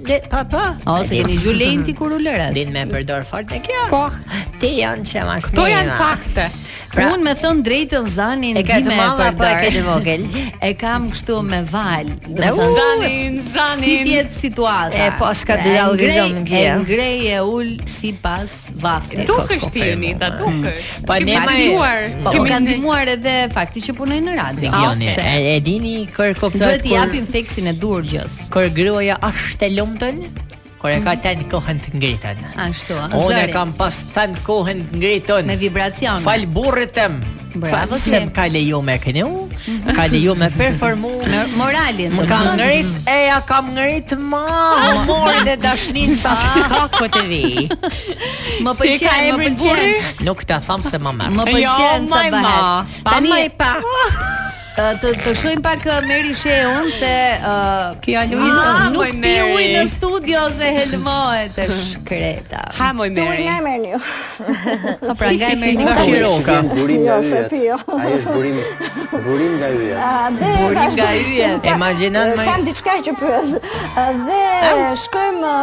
S9: Dhe pa pa.
S7: Ose keni zhulejn ti kur u lëret.
S9: Din me përdor fort e kjo.
S8: Po.
S9: Ti janë që mas.
S8: Kto janë fakte.
S7: Pra, Unë me thënë drejtën zanin
S9: E ka të
S7: ndime
S9: madhe apo e
S7: përdor.
S9: ke të vogël?
S7: E kam kështu me val.
S9: E, u,
S8: Zanin, zanin.
S7: Si tjetë situata
S9: E, po, s'ka
S7: Pra,
S9: të
S7: e
S9: dialogizom
S7: ngrej-
S9: kjo.
S7: E ngrej e ul si pas vaftit
S8: Dukesh ti
S9: po, po,
S8: Anita,
S9: po,
S8: dukesh.
S9: Po,
S8: Kemi
S9: ne ma-
S8: dëgjuar,
S7: Po, u
S8: kemi
S7: kanë
S8: ne-
S7: ndihmuar edhe fakti që punoj në radio
S9: Joni,
S7: Ose,
S9: e, e dini kër kuptohet
S7: Duhet i japim feksin e durgjës
S9: kër gruaja është e lumtën, kër e ka tani kohën të ngritën.
S7: Mhm. Ashtu, a
S9: Unë e
S7: zëri.
S9: kam pas tani kohën të ngritën.
S7: Me vibracione.
S9: Fal burrit tëm.
S7: Bravo
S9: Fal
S7: ti. Mhm.
S9: se më ka leju me kënu, ka leju me performu.
S7: Në moralin
S9: Më
S7: do të
S9: kam
S7: thonë.
S9: ngrit, e ja kam ngrit ma humorin dhe dashnin sa s'ka ku të vi.
S7: Më
S8: Si
S7: pëlqen,
S8: ka
S7: më
S8: emrin
S7: pëlqen
S8: burri?
S9: Nuk ta tham se ma merr.
S7: Më pëlqen
S8: Jo,
S7: sa
S8: maj, ma.
S7: bëhet
S8: Pa, maj, pa.
S7: Ë, Të, të shohim pak uh, ë, Meri Sheun se uh,
S9: Kjo Lui
S8: Ah,
S7: nuk
S8: moj
S7: pi
S8: Meri.
S7: ujë në studio se helmohet e shkreta.
S8: Ha moj Meri.
S7: Po pra nga e merr
S9: nga
S7: një
S9: Shiroka.
S3: burim nga yjet. Ai është burim, burim nga yjet.
S7: burim nga yjet.
S9: Imagjinon më.
S1: Ah, diçka që pyes. Ah, Dhe shkojmë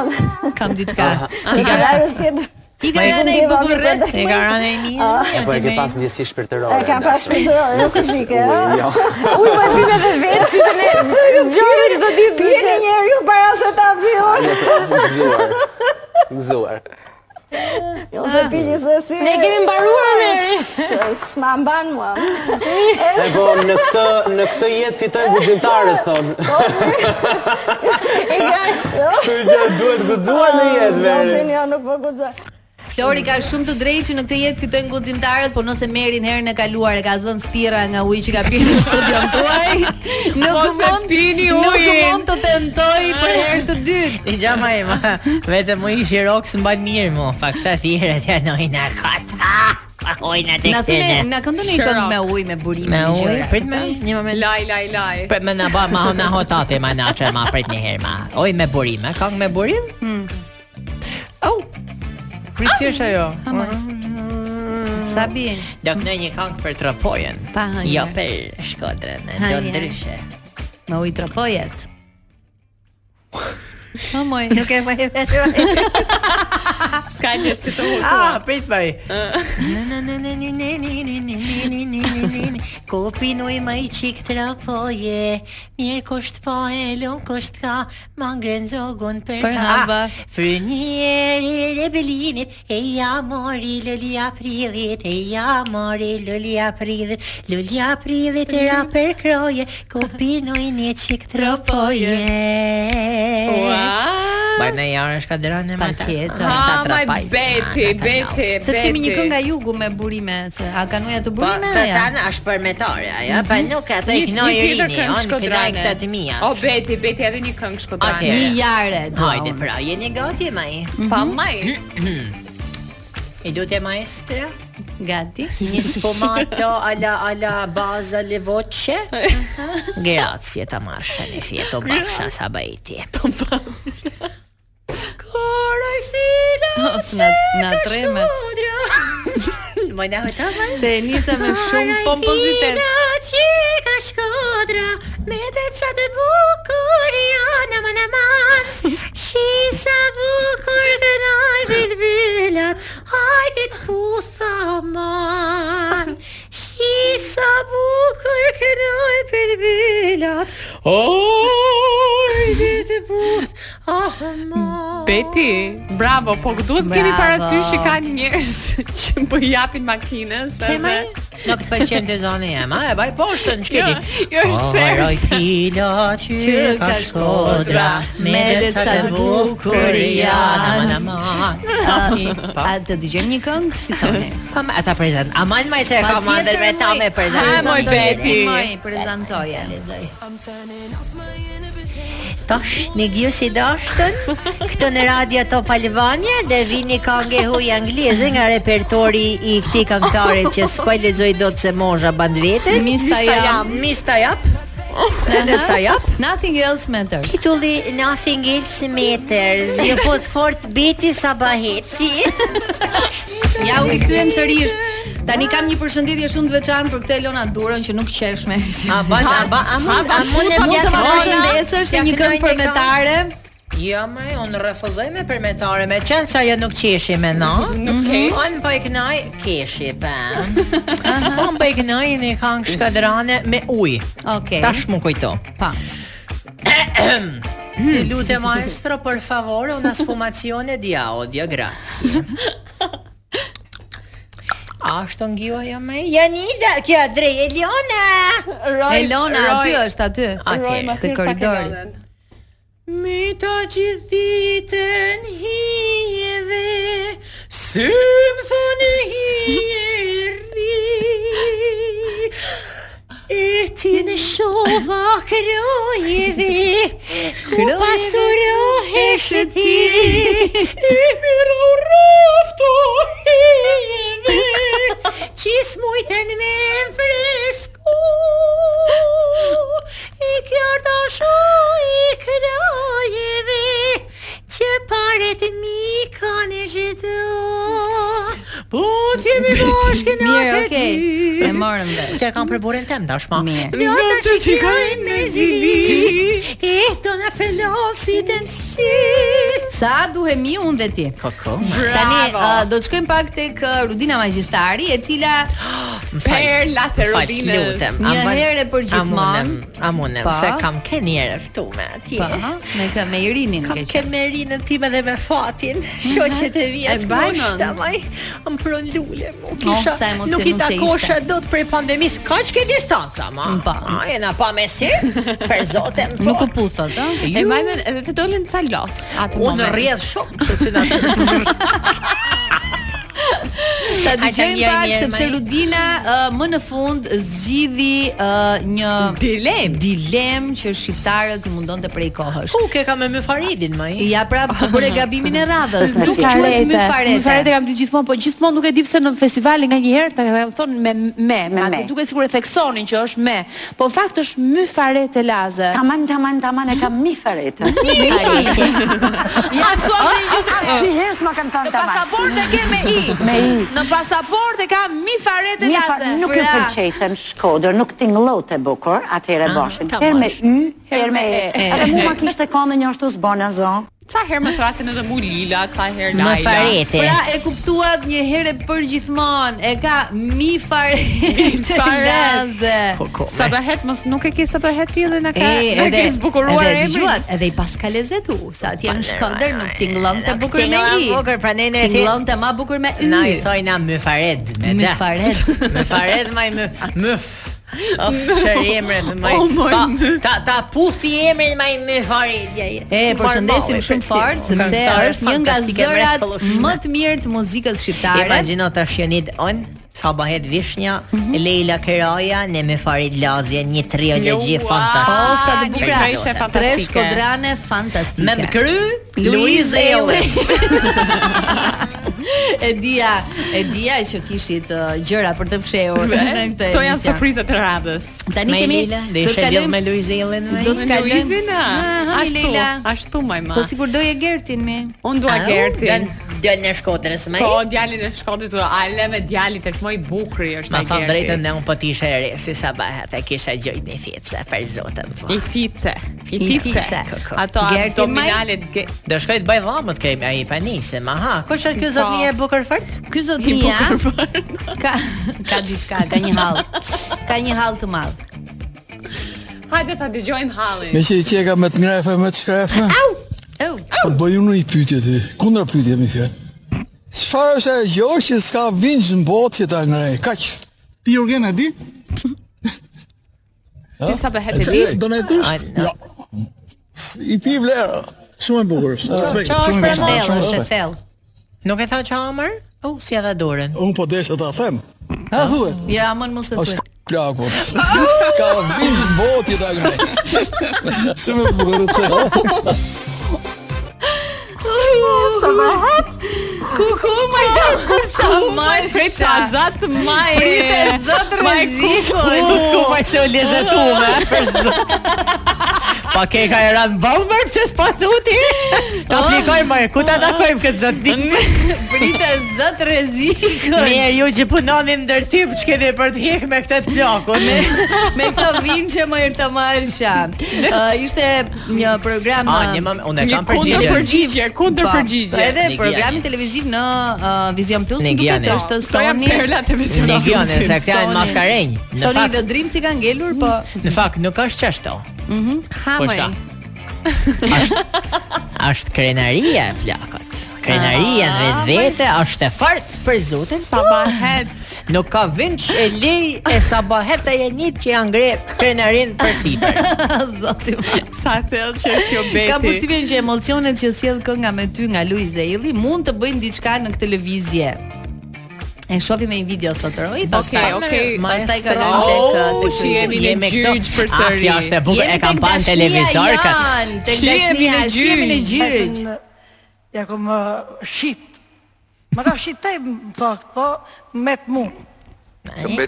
S7: Kam diçka.
S6: ah.
S1: <laughs> në gararës tjetër.
S7: I ka rënë i bukurrë.
S9: E ka rënë e një.
S8: Ah.
S3: E po e ke pas ndjesi shpirtërore.
S1: E kam pas
S3: ndashme.
S1: shpirtërore, jo fizike,
S3: Ue,
S1: ëh.
S3: jo.
S1: <laughs> Uj, po ti me vetë që të ne
S3: <laughs>
S1: zgjojmë çdo ditë. Jeni njeriu para se ta villon.
S3: Jo, po, Gëzuar. Gëzuar.
S1: Ose pini Jo, se si. Ah. Ne kemi mbaruar ne. S'ma mban mua.
S3: E po në këtë në këtë jetë fitojnë guximtarët thon.
S1: E ka. <laughs>
S3: Kështu që duhet guxuar në
S1: Jo.
S3: jetë.
S1: Ah, Zotin
S3: veri.
S1: jo nuk po guxoj.
S7: Flori ka shumë të drejtë që në këtë jetë fitojnë guximtarët, por nëse merrin herën e kaluar e ka zënë spira nga uji që ka pirë në studion
S9: <laughs>
S7: tuaj, nuk
S9: Mos e
S7: mund
S9: pini
S7: Nuk
S9: ujin.
S7: mund të tentoj për herë të dytë.
S9: I gjama e ma, vetëm më ishi rokë së mbajt mirë mu, fa këta thirët janë ojna <laughs> kota, pa ojna të
S7: Na thune,
S9: këtëne.
S7: na këndon një këngë me ujë, me burim.
S9: Me
S7: me gjëra.
S9: ujë, prit me një moment.
S8: Laj, laj, laj.
S9: Prit me na ba, ma na hotate, ma na që ma prit një herë ma. Oj, me burim, e kong me burim?
S7: Hmm.
S9: Au, pritësish ajo.
S7: Ama. Sa bien.
S9: Do kënoj një kong për tropojen.
S7: Pa hënjer.
S9: Jo për shkodrën, e do
S7: Hënjer.
S9: ndryshe.
S7: Me ujë
S9: <laughs>
S7: tropojet. Po moj.
S9: Nuk e më vetë.
S8: S'ka gjë si të hutua.
S9: Ah, prit vaj.
S13: Ko pinoj ma i qik të rapoje Mirë kusht pa e lon kusht ka Ma ngren zogun për,
S9: Për haba.
S13: Fënjeri rebelinit E ja mori lëli aprillit E ja mori lëli aprillit Lëli aprillit e ra për kroje Ko pinoj një qik të rapoje
S9: Baj me jarë shkodrën e ma ta.
S7: Patjetër.
S9: ta
S8: Ha, my
S9: trapaj.
S8: beti, beti, beti.
S7: Ah, Se që kemi një këngë nga jugu me burime, se a kanuja të burime
S9: të
S7: apo jo?
S9: Po, tana është për metare, ajo,
S8: Mhm.
S9: pa nuk ato i knoj rini, on kënaj këta të mija.
S8: O beti, beti edhe një Mhm. këngë shkodrane.
S9: Atëherë.
S7: Një jare.
S9: Hajde pra, jeni gati maj.
S8: Pa <clears throat> maj.
S9: E do të
S8: <laughs>
S9: maestra?
S7: Gati.
S9: Një sfumato alla alla baza le voce.
S8: <laughs>
S9: Grazie ta marsha ne fieto bafsha sa bajti. Koroj
S7: <laughs>
S9: fila
S7: Os na na treme.
S9: <laughs> Moj na hëta maj?
S7: Se e nisa me shumë pompozitet.
S13: që ka shkodra Me dhe ca të bukur janë aman aman Shi sa bukur gënoj bilbilat Hajde të futha aman Shi sa bukur gënoj bilbilat Hajde të futha aman
S8: Beti, bravo, po duhet kemi
S9: Bravo.
S8: parasysh që ka njerëz <laughs> që po i japin makinës
S9: Se maj? Nuk të pëlqen të zonë e ma, e baj poshtën, që
S8: Jo, jo është
S9: Koroj
S8: thers.
S9: fila që
S7: Që
S9: ka
S7: ka
S9: shkodra Me dhe
S7: deca
S9: sa të bukur janë Aman, aman
S7: A të dëgjojmë një këngë si toni?
S9: Kam po. ata prezant. Aman maj se <laughs> e kam andër me ta me prezant.
S7: Ha moj beti. Moj prezantoje.
S13: Tash në gjë si dashtën Këtë në radio Top Albania Dhe vini kange huj angleze Nga repertori i këti këngëtarit Që s'po e lexoj dot se mozha band vete
S7: Mista jam.
S13: Mista jap Edhe sta jap
S7: Nothing else matters.
S13: Titulli Nothing Else Matters Ju po të fort beti sabaheti
S7: Ja u rikthyem sërish. Tani kam një përshëndetje shumë të veçantë për këtë Elona Durën që nuk qesh me.
S9: A ban, a
S7: <laughs>
S9: ban, a mund, a mund e
S7: po mund të më përshëndesësh me një këngë përmetare?
S9: Jo, më unë refuzoj me përmetare, me qenë sa jo nuk qeshi me na.
S8: <laughs> Nuk kesh.
S9: Unë po i kënaj keshi pa. <laughs> Unë po i kënaj një këngë shkadrane me ujë.
S7: Okej.
S9: Tash më kujto. <clears throat>
S7: Pa.
S9: Ti lutem maestro, por favore, una sfumazione di audio, <laughs> grazie. Ashtë ngjua jo me Janida, kjo drejt Eliona.
S13: Roj,
S7: Elona aty është aty.
S9: Atje.
S7: Te koridori.
S9: Mi të gjithë ditën hijeve Sy më thonë hiri E ti në shova krojeve Ku pasurohesh ti E mirë u rëfto hijeve Qis mujten me më fresku I kjarta i krojeve Që paret mi ka në gjithë Po t'jemi bashkë në
S7: Mirë,
S9: të
S7: okay.
S9: dy
S7: E morëm vesh.
S9: Që e kam për burin tem tashma
S7: Mirë.
S9: Jo të shikojnë me zili E do na felosit e nësi
S7: Sa duhemi unë dhe ti?
S9: Koko
S7: Tani uh, do të shkojmë pak tek uh, Rudina Magjistari, e cila
S8: Per
S9: Fal,
S8: laterodinës.
S9: lutem.
S7: Një
S9: Amban-
S7: herë për gjithmonë.
S9: Amunem, amunem,
S7: Pa.
S9: se kam ke njerë ftume atje.
S7: pa, po, me kë me Irinin
S9: Kam
S7: ke
S9: ke me rinën time dhe me fatin, shoqet e vjetë,
S8: E bajmën.
S9: moshta maj, më pron lule, mu
S7: Oh, sa
S9: kisha, nuk i
S7: emocionuese
S9: takosha
S7: ishte.
S9: dot për pandemis, ka që ke distanca, ma,
S7: Pa.
S9: a, jena pa me si, për zotem, po.
S7: Nuk u puthot, ë?
S8: E mbajnë edhe të dolën ca lot atë
S9: Unë
S8: moment.
S7: <laughs>
S9: rrjedh shumë, që si na
S7: ta dëgjojmë
S9: mirë,
S7: pak
S9: mirë,
S7: sepse
S9: Mari.
S7: Ludina uh, më në fund zgjidhi uh, një dilem, dilem që shqiptarët mundonte prej kohësh.
S9: Ku ke ka me Myfaridin më?
S7: Ja
S14: <laughs>
S7: prap bëre gabimin e radhës.
S15: Nuk
S7: Nuk quhet
S15: farete.
S7: më
S15: Më farete
S7: farete.
S15: kam dy gjithmonë, po gjithmonë nuk e di pse në festivale nga një herë ta kam thonë me me, me atë
S14: me.
S15: duket sikur e theksonin që është me. Po në fakt është my farete laze. Taman taman taman e kam mi farete. Mi farete.
S14: Ja, thua se një gjë- <laughs>
S15: Asnjëherë s'ma kam thënë taman. Në pasaportë ke me i.
S14: Me i.
S15: Në pasaportë kam mi farete
S14: Mi
S15: laze.
S14: pa- nuk ju
S15: Fra.
S14: pëlqejtën Shkodër, nuk tingëllot e bukur, atëherë
S15: Ah,
S14: boshin.
S15: ta
S14: Herë me
S15: marrësh.
S14: y, herë me e.
S8: e.
S14: Edhe mua ma kishte kanë një ashtu zbona zo.
S8: Ca herë më thrasin edhe mu Lila, ca herë Laila.
S7: Pra e kuptuat një herë për gjithmonë. E ka mi farete. laze.
S8: Sa bëhet mos nuk e ke sa bëhet ti edhe na ka na ke zbukuruar
S7: edhe
S8: emrin.
S7: dëgjuat, edhe i paska lezetu, sa atje në Shkodër nuk tingëllon të bukur me i.
S9: tingëllon bukur, pra ne ne e thim-
S7: tingëllon të ma bukur me y.
S9: Na i thoj na Myfarid me da.
S7: Myfarid.
S9: <laughs> Myfarid më më
S7: <laughs>
S9: myf. Oh, Of çfarë emre më më.
S7: Oh, my
S9: ta- Ta ta puthi emrin më Myfarid ja. ja.
S7: E përshëndesim shumë fort sepse
S9: Këngëtare
S7: është një nga
S9: fantastike,
S7: zërat
S9: mrekullueshme.
S7: më të mirë të muzikës shqiptare.
S9: Imagjino tash Jonid on Sa bëhet vishnja,
S7: Mhm.
S9: Leila Keraja, ne me Farid Lazje, një triologi
S7: Ua,
S9: fantastike.
S7: Po
S8: Ah,
S7: sa të bukura. Tre shkodrane fantastike.
S9: Me kry,
S7: Luiz
S9: Luiz Elli.
S7: Elli. E dia, e dia që kishit uh, gjëra për të fshehur
S8: Dhe, këto janë
S7: emision.
S8: surprizat e radhës.
S7: <laughs> Tani
S9: Me
S7: kemi
S9: Leila, do
S7: do të
S9: ishe lidh
S7: kalojmë
S9: me Luiz Ellin, me-
S7: Do të
S8: Me
S7: kalojmë
S8: Luizin, a?
S7: Ah, hami,
S8: Ashtu,
S7: Leila.
S8: ashtu, majma.
S7: Po sigur doje Gertin mi.
S8: Unë dua
S7: Au,
S8: Gertin.
S9: Djalin e Shkodrës më.
S8: Po djalin e Shkodrës, do ale me djalit është më i bukur është
S9: Ma
S8: ai
S9: tham
S8: Gerti.
S9: drejtën ne un po të isha e re si sa bëhet, e kisha gjojt me fice, për zotën po.
S8: I fice,
S9: I
S8: fice.
S9: fice, koko.
S8: Ato
S9: Gerti
S8: abdominalet ge-
S9: Do shkoj të bëj dhamët kej me ai panise, ma ha. Kush është ky
S7: Po.
S9: zotnia e bukur fort?
S7: Ky zotnia <laughs> ka ka diçka, ka një hall. Ka një hall të madh.
S8: Hajde ta dëgjojmë hallin.
S16: Me që i qeka me të ngrefe, me të shkrefe
S7: Au.
S16: Po të bëj unë një pytje ty Kundra pytje mi fjallë Qëfar është e gjohë që s'ka vinç në botë që ta ngrej Kaq Ti Jurgen e di?
S8: Ti sa bëhet e di?
S16: Do në e thush? Jo I pi vlerë Shumë e bukur është Respekt, shumë e bukur. Shumë respekt.
S7: thellë.
S9: Nuk e tha që amër? U, si edhe dorën.
S16: Unë po desha ta them Ha thue
S7: Ja, më në Jo, mos e thuj.
S16: është plakot S'ka vinç në botë që ta ngrej <laughs> Shumë e bukur është
S7: Sa bëhet? Kuku më do kurse më
S8: prej pazat më e-
S7: Pritë zot
S8: më e
S7: rrezikun.
S8: kuku.
S9: Ku më se u lezetume, për zot. Pa ke ka e ranë balë mërë, pëse s'pa thu ti? Ta
S7: Oh.
S9: aplikoj mërë, ku ta takojmë këtë zotnik?
S7: Pritë zot rrezikun.
S9: Mirë, ju që punoni në ndërtim, që keni për të hekë me këtë të plakun?
S7: me <laughs> me këto vinçe më të malsha.
S9: <laughs>
S7: Uh, ishte një program
S9: A, Ah, një mam- unë e
S7: një
S9: kam përgjigje.
S7: kundër
S9: Përgjigje, kundër
S7: Po,
S9: përgjigje.
S7: Edhe
S9: Negiani.
S7: programi televiziv në uh, Vision Plus nuk duket
S9: Negiani.
S7: është
S9: Po, janë
S7: Sony.
S9: perlat e Vision Negiani, Plus-it. se këta janë maskarnj. Në
S7: Sony
S9: fakt-
S7: dhe Dream si kanë ngelur,
S9: <laughs>
S7: po <laughs>
S9: Në fakt, nuk është qështo.
S7: Mhm.
S9: Po qa? Ashtë krenaria e plakot. Krenaria
S8: Ah,
S9: dhe vete është e fartë për zotin. Sa bëhet. Nuk ka vinç e lej e sa bëhet e jenit që janë ngre krenarin për
S17: Po,
S9: sipër.
S7: Zoti
S8: sa thellë që është kjo beti.
S7: Ka përshtypjen që emocionet që sjell kënga me ty nga Luiz dhe Illi mund të bëjnë diçka në këtë lëvizje. E shohim me një video thotë Roy, pastaj
S8: Okej, okej,
S7: pastaj
S8: maestro.
S7: kalojmë tek uh,
S8: Oh,
S7: tek
S8: shi jemi në
S7: Jemi këtu.
S8: gjyq përsëri.
S9: Ah, kjo është e bukur,
S7: Jemi
S9: e kam
S7: tek
S9: pa në
S7: dashnia
S9: televizor këtë.
S7: janë, Tek
S9: Shi jemi
S7: dashnia,
S9: në
S7: shi jemi në gjyq.
S17: Vetëm, Ja ku më shit. Më ka shitej më thakt, po me të mu.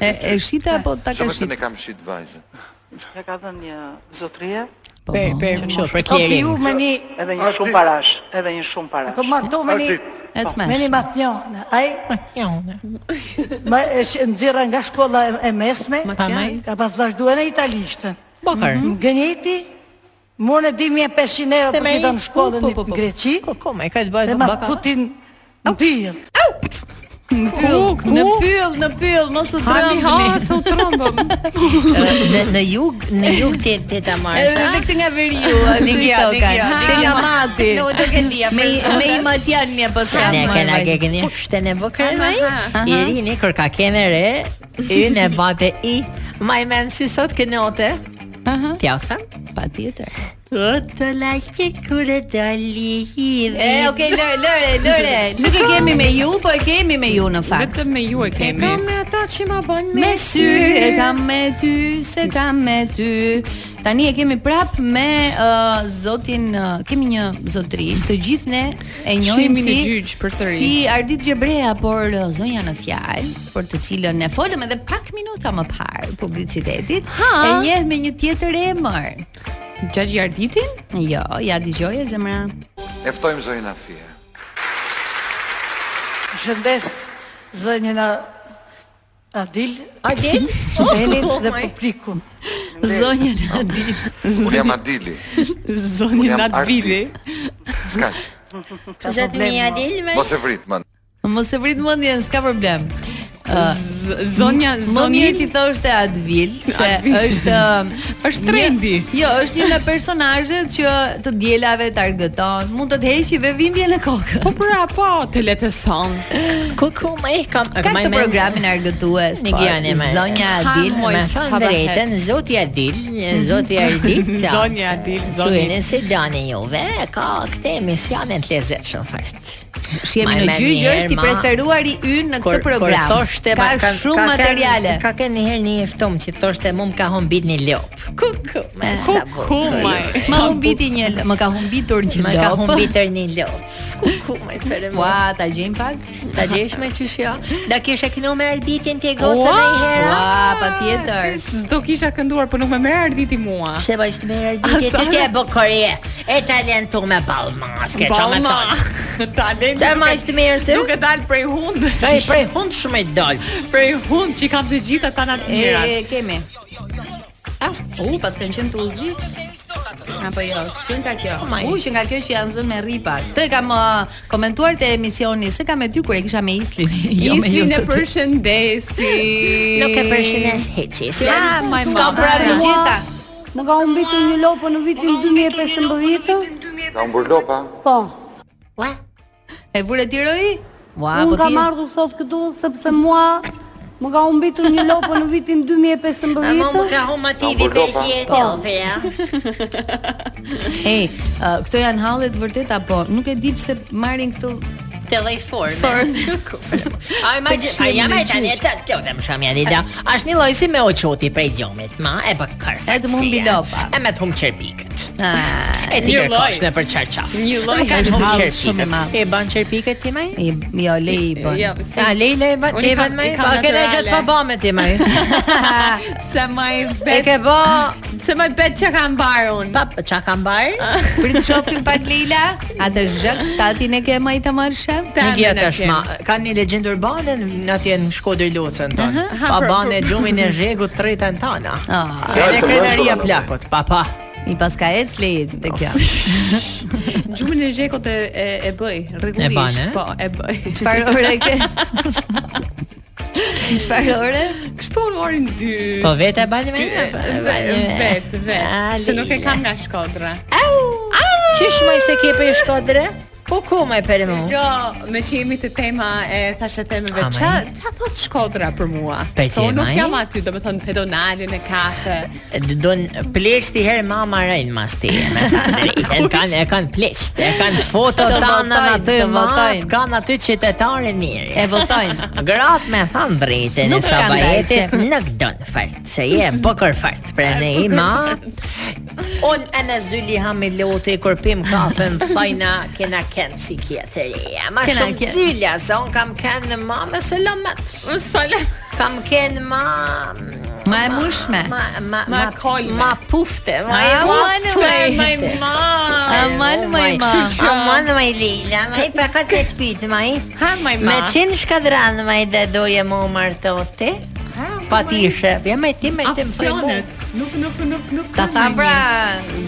S7: E, e shita apo ta ka
S17: Shumë
S7: shit?
S17: vetëm e kam shit vajzë. Ja ka dhënë një zotrie.
S7: Pe- po. pe-
S17: Që
S7: po,
S17: mos-
S7: për
S17: Po,
S7: klerin.
S17: ju me një edhe një shumë parash, edhe një shumë parash. Po ma këtu me një
S7: E të
S17: po,
S7: mesh.
S17: Me një matnjone. Ai matnjone. Ma e sh- nxjerra nga shkolla e, e mesme,
S9: Matnjone.
S17: ka pas vazhduar në italishtën.
S9: Bakar.
S17: Mhm. Gënjeti Mune 2500 euro
S9: Se
S17: për
S9: me
S17: të
S9: i-
S17: në shkollën
S9: Po,
S17: në
S9: po, po.
S17: Greqi.
S9: Po, ko, me ka të bëjë
S17: Dhe ma
S9: bakar.
S17: futin në pijën.
S7: Në pyll, në pyll, në pyll, mos u
S9: Hami, ha,
S7: trembni.
S9: s'u në në jug, në jug te te ta marrë.
S7: Edhe tek të nga veriu, ashtu i
S9: Digja,
S7: tokan.
S9: digja,
S7: Te nga
S9: digja.
S7: mati.
S9: Jo, do ke dia,
S7: Me
S9: për-
S7: me i matjan një pas
S9: Sa ne kena gegen e shten e vokal më.
S7: aha.
S9: Irini kur ka kene re, i ne bate i. My man si sot ke note.
S7: Aha.
S9: T'ja u them?
S7: Patjetër.
S9: Këtë laqe kure dali hidhi
S7: E, okay, lëre, lëre, lëre. Nuk e kemi me ju, po e kemi me ju në fakt. Vetëm me ju e
S8: kemi. E kam
S7: me ata që ma bën
S8: me
S7: me sy,
S8: sy.
S7: e kam me ty, se kam me ty. Tani e kemi prap me uh, zotin, uh, kemi një zotri, të gjithë ne e njohim
S8: Shihemi
S7: si
S8: në gjyq përsëri.
S7: Si Ardit Gjebrea, por uh, zonja në fjalë, për të cilën ne folëm edhe pak minuta më parë publicitetit, e
S8: Ha.
S7: njeh me një tjetër emër. Gjagji Arditin? Jo, ja dëgjoje zemra.
S18: E ftojmë zonjën Afie.
S17: Shëndes zënjën a- Adil,
S7: Adil,
S17: Benit
S7: Oh,
S17: dhe
S7: my.
S17: publikun.
S18: <laughs>
S7: Zonjën Adil.
S18: Unë jam Adili. Unë
S7: Zonjën
S18: jam Adili. Ska që.
S7: Ka
S17: Zoti
S7: problem,
S17: mi
S7: mo.
S17: Adil
S18: Mos e vrit, man.
S7: Mos e vrit mendjen, s'ka problem. Ë,
S8: Z- zonja-
S7: m- Më mirë
S8: zonil-
S7: ti thoshte Advil, se
S8: Advil.
S7: është
S8: Është trendi.
S7: Një, jo, është një nga personazhet që të dielave targeton, mund të të heqi dhe vimbje në kokë. Po pra, po, të letëson. Kuku më e kam Ka
S9: maj
S7: këtë
S9: mend-
S7: programin argëtues.
S9: Një
S7: po,
S9: gjani me
S7: Zonja Adil Mhm.
S9: me thënë drejtën Zoti Adil Zoti
S7: <laughs>
S9: Adil
S8: Zonja Adil, zoni.
S9: Qujeni si dani juve Ka këte emisionin të lezetshëm fart
S7: Shihemi në gjyqë është i preferuari ynë në këtë program.
S9: thoshte,
S7: ka,
S9: ma-
S7: shumë
S9: ka-
S7: materiale.
S9: Ka kënë një herë një ftom që thoshte mu më ka humbit një lop Kuku, me sa bukur.
S7: Më humbiti një, l- më ka humbitur një lop.
S9: Më ka humbitur një lop. Kuku, më fare.
S7: <laughs> Ua, ta gjejm pak?
S9: Ta gjesh me qysh jo. Do kishe kënu me arditin ti goca
S8: Ua,
S9: në i hera.
S8: ua,
S9: patjetër.
S8: Si s'do kisha kënduar, po nuk më merr arditi mua.
S9: Pse po ishte merr <laughs> Ti ti ti e bukurie, e talentu me ballmas, ke çamë
S8: Ballma.
S9: ton.
S8: Talenti.
S9: Sa më ishte mirë ti?
S8: Duke dal prej hund.
S9: Ai prej hund shumë i dal.
S8: Prej hund që i kam të gjitha ta natë mira.
S7: E, kemi. Ah, u, pas kanë qenë të uzgji. Apo jo, që nga kjo? U, që nga kjo që janë zënë me rripa. Këtë e kam uh, komentuar te emisioni, se kam me ty kur e kisha me Islin. <laughs> jo me ju
S8: Islin e
S7: të ty.
S8: përshëndesi.
S7: Nuk e përshëndes
S9: heqi.
S7: Ja, my mom.
S8: S'ka
S7: pravi gjitha.
S14: Më ka humbitur një lopë në vitin 2015.
S18: Ka umbur lopa?
S14: Po.
S7: E vure ti roi? Ua,
S14: Unë
S7: po ti.
S14: kam ardhur sot këtu sepse mua më ka humbitur një lopë në vitin 2015.
S9: Ama Ah, po, më ka humb aty
S14: Ambur
S9: vitin
S14: lopa.
S9: tjetër.
S14: Po.
S9: opera.
S7: Ej, uh, këto janë hallet vërtet apo nuk e di pse marrin këtu
S9: Të lloj forme. Ai ma
S7: Të
S9: gjë,
S7: këshillim
S9: ai jam
S7: në
S9: e tani
S7: gjyq.
S9: të kjo dhe më shumë janë ida. Ashtë një lloj si me oqoti prej gjomit, ma e bë kërfatësia.
S7: Erdë më humbi lopa.
S9: E me të hum qerpikët.
S7: Ah,
S9: E ti
S7: një
S9: kërkosh
S7: lloj.
S9: në për qarqaf.
S7: Një lloj ka
S9: Është
S7: shumë
S9: hall
S7: qerpikët.
S9: shumë i madh. E ban qerpikët ti më?
S7: I, jo, le i bën.
S9: Jo, si- A, le i- le i bën- le i bën, maj? Pa, kena i gjatë pa bëme po ti, maj.
S8: Pse më i bet.
S9: E ke bë,
S8: pse më i bet çka kam mbar unë.
S9: Pa, çka kam mbar?
S7: <laughs> Prit shofim pak Leila, atë zhëk statin e ke më i të marrë shef?
S9: Një dia tash ma, ka një legjend urbane në atje në Shkodër Lucën tonë.
S7: Aha.
S9: Pa banë gjumin e zhegut tretën tana.
S7: Ah.
S9: Ka e krenaria plakut, pa pa.
S7: I pas ka ec lejt te kjo.
S8: Gjumin e zhekut e e, e bëj rregullisht.
S9: E ban, e?
S8: Po, e bëj.
S7: <laughs> Çfarë ore e ke? Çfarë ore?
S8: Kështu në orën 2.
S9: Po vetë e bani me
S8: Dy-
S9: një, e bani me-
S8: Vet, vet.
S9: A,
S8: Se nuk e
S9: Leila.
S8: kam nga Shkodra.
S9: Au! Qysh më se ke për Shkodrë? Po ku më e për mua?
S8: Jo, me që jemi të tema e thashe temeve,
S9: Ama
S8: qa, qa thot Shkodra për mua?
S9: Pe
S8: Se unë nuk
S9: tema,
S8: jam aty, do me thonë pedonalin e kafe.
S9: Don pleçti her mama rën mas ti.
S8: <laughs>
S9: E kanë e kanë pleçt, e kanë foto
S7: Të
S9: tana
S7: votojnë,
S9: aty
S7: të
S9: mat,
S7: votojnë.
S9: kanë aty qytetarë mirë.
S7: E votojnë.
S9: <laughs> Gratë me than drejtën e
S7: Nuk e kanë
S9: sabajetit
S7: dalë,
S9: nuk don fart, se je bukur fart. Pra ne i ma. On ana zyli hamiloti kur pim kafen thajna kena kënd si kjetëri. Ma
S7: Kena
S9: shumë
S7: qenë.
S9: zyla, se on kam kënd në mamë selamet. Selamet. Kam kënd ma
S7: Ma e mushme.
S9: Ma ma
S8: Ma
S9: ma
S8: kolme.
S9: Ma pufte. Ma
S7: Eh. Aman,
S9: pufte.
S7: ma i
S8: ma.
S9: Ah,
S7: Aman, ma i ma.
S9: Aman më Lila, më i pa ka të të pyet më i.
S8: Ha, ma i ma.
S9: Me qenë shkadran më i dhe doje më martote. Pa ti ishe, ja me ti me ti më
S8: Opsionet. Nuk, nuk, nuk, nuk.
S7: Ta tham pra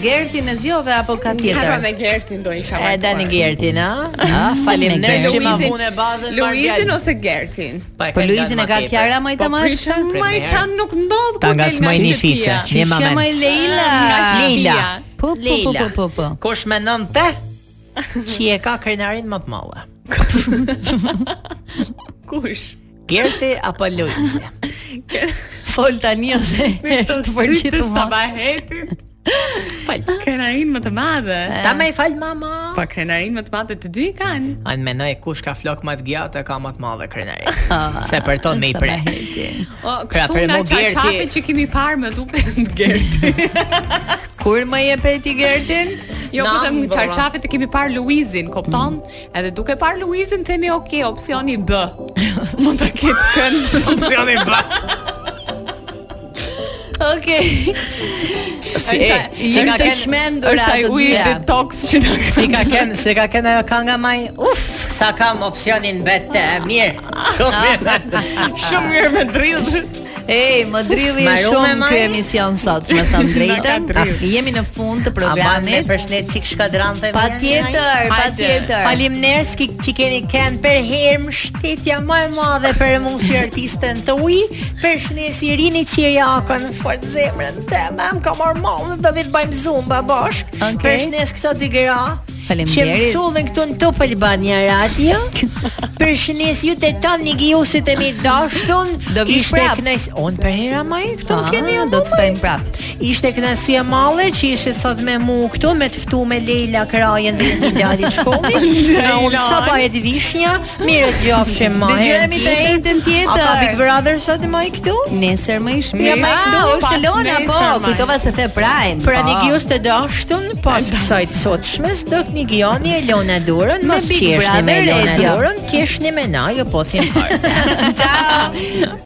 S7: Gertin e zjove apo ka
S8: Ja pra
S7: tjetër?
S8: me Gertin do isha
S9: E dani Gertin, a? <laughs>
S7: Ah,
S9: Faleminderit që ma
S8: Luizin-
S9: vune bazën
S8: Luizin ose Gertin?
S7: Po Luizin e ka Kiara më i të marrë shef?
S8: Ma i qanë nuk ndodhë
S9: Ta ngacmoj një fice, një
S7: Qysh jam
S9: moment.
S7: ai Leila.
S9: Leila.
S7: Po po po po po po.
S9: Kush mendon te? Qi e ka krenarin më të madhe?
S8: Kush?
S9: Gerti apo Luizi?
S7: Fol tani ose
S8: Me
S7: është
S8: këto
S7: të
S8: sytë
S7: përqitur
S8: të
S7: më.
S8: sabahetit Fal. Krenarin më të madhe.
S9: Ta më i fal mama.
S7: Po,
S8: Pa krenarin më të madhe të dy i kanë.
S4: Anë menoj kush ka flok më të gjatë e ka më të madhe krenari. Se për ton me i pre.
S8: O,
S4: Pra,
S8: kështu
S4: për
S8: nga
S4: mu Gerti-
S8: çarçape që kemi parë më duket Gerti.
S7: Kur më jep ti Gertin?
S8: Jo, po
S7: Na,
S8: them
S7: valla.
S8: çarçafet e kemi parë Luizin, kupton? Edhe duke parë Luizin themi, "Ok, opsioni B." Mund ta ketë kën.
S4: Opsioni B.
S9: <laughs>
S7: Okej.
S4: Si
S8: Është-
S4: e, si
S8: është
S4: ka
S8: e
S4: ken-
S7: shmendura
S4: është ai
S7: të
S4: uji
S7: dyja.
S8: detox që na
S1: Si ka ken, se ka ken ajo kanga maj. Uf, sa kam opsionin vetë, mirë. Shumë mirë.
S8: Shumë mirë me drill.
S7: Ej, më drilli e
S1: Mbarume,
S7: shumë
S1: Maj?
S7: ky emision sot,
S9: <laughs>
S7: më thëmë drejtën.
S1: Na ka drill.
S7: Jemi në fund të
S9: Aman me
S7: programit.
S9: përshlet çik shkadran dhe
S7: Patjetër, patjetër.
S9: Faleminderit që që keni kanë për herë mbështetja më e madhe për mua si artistën tuaj. Përshëndetje Rini Qiriakën, fort zemrën time. Më ka marrë mallë do vit bëjmë zumba bashk.
S7: Okej.
S9: Përshëndes këto dy gra. Që
S7: Faleminderit.
S9: mësullën këtu në Top Albania
S7: <laughs>
S9: Radio Përshëndes ju të tanë një gjusit e mi dashtun
S7: Do vi
S9: Ishte
S7: prap.
S9: knajs Unë për hera ma i këtu
S7: Ah,
S9: më keni
S7: do të stojmë prap
S9: Ishte kënaqësi e madhe që ishe sot me mua këtu me të ftuar me Leila Krajen dhe një djalë
S7: <laughs>
S9: shkomi. Na unë sa bëhet vishnja, mirë djofshë më.
S7: Dëgjojemi të njëjtën tjetër.
S9: A ka Big Brother sot më i këtu?
S7: Nesër më i
S9: Ja,
S7: shpia
S9: pa i këtu,
S7: Ah, është
S9: pas
S7: Lona
S9: nesër,
S7: po,
S9: Maj.
S7: kujtova se the Prime.
S9: Pra
S7: po.
S9: një gjus të dashtun,
S7: <laughs>
S9: pas kësaj të sotshmes, do të një gjoni e Lona Durën,
S7: Me
S9: mos
S7: Big
S9: qeshni me
S7: Brother,
S9: Lona
S7: Edhja. <laughs>
S9: Durën, keshni me na, jo po thim parë.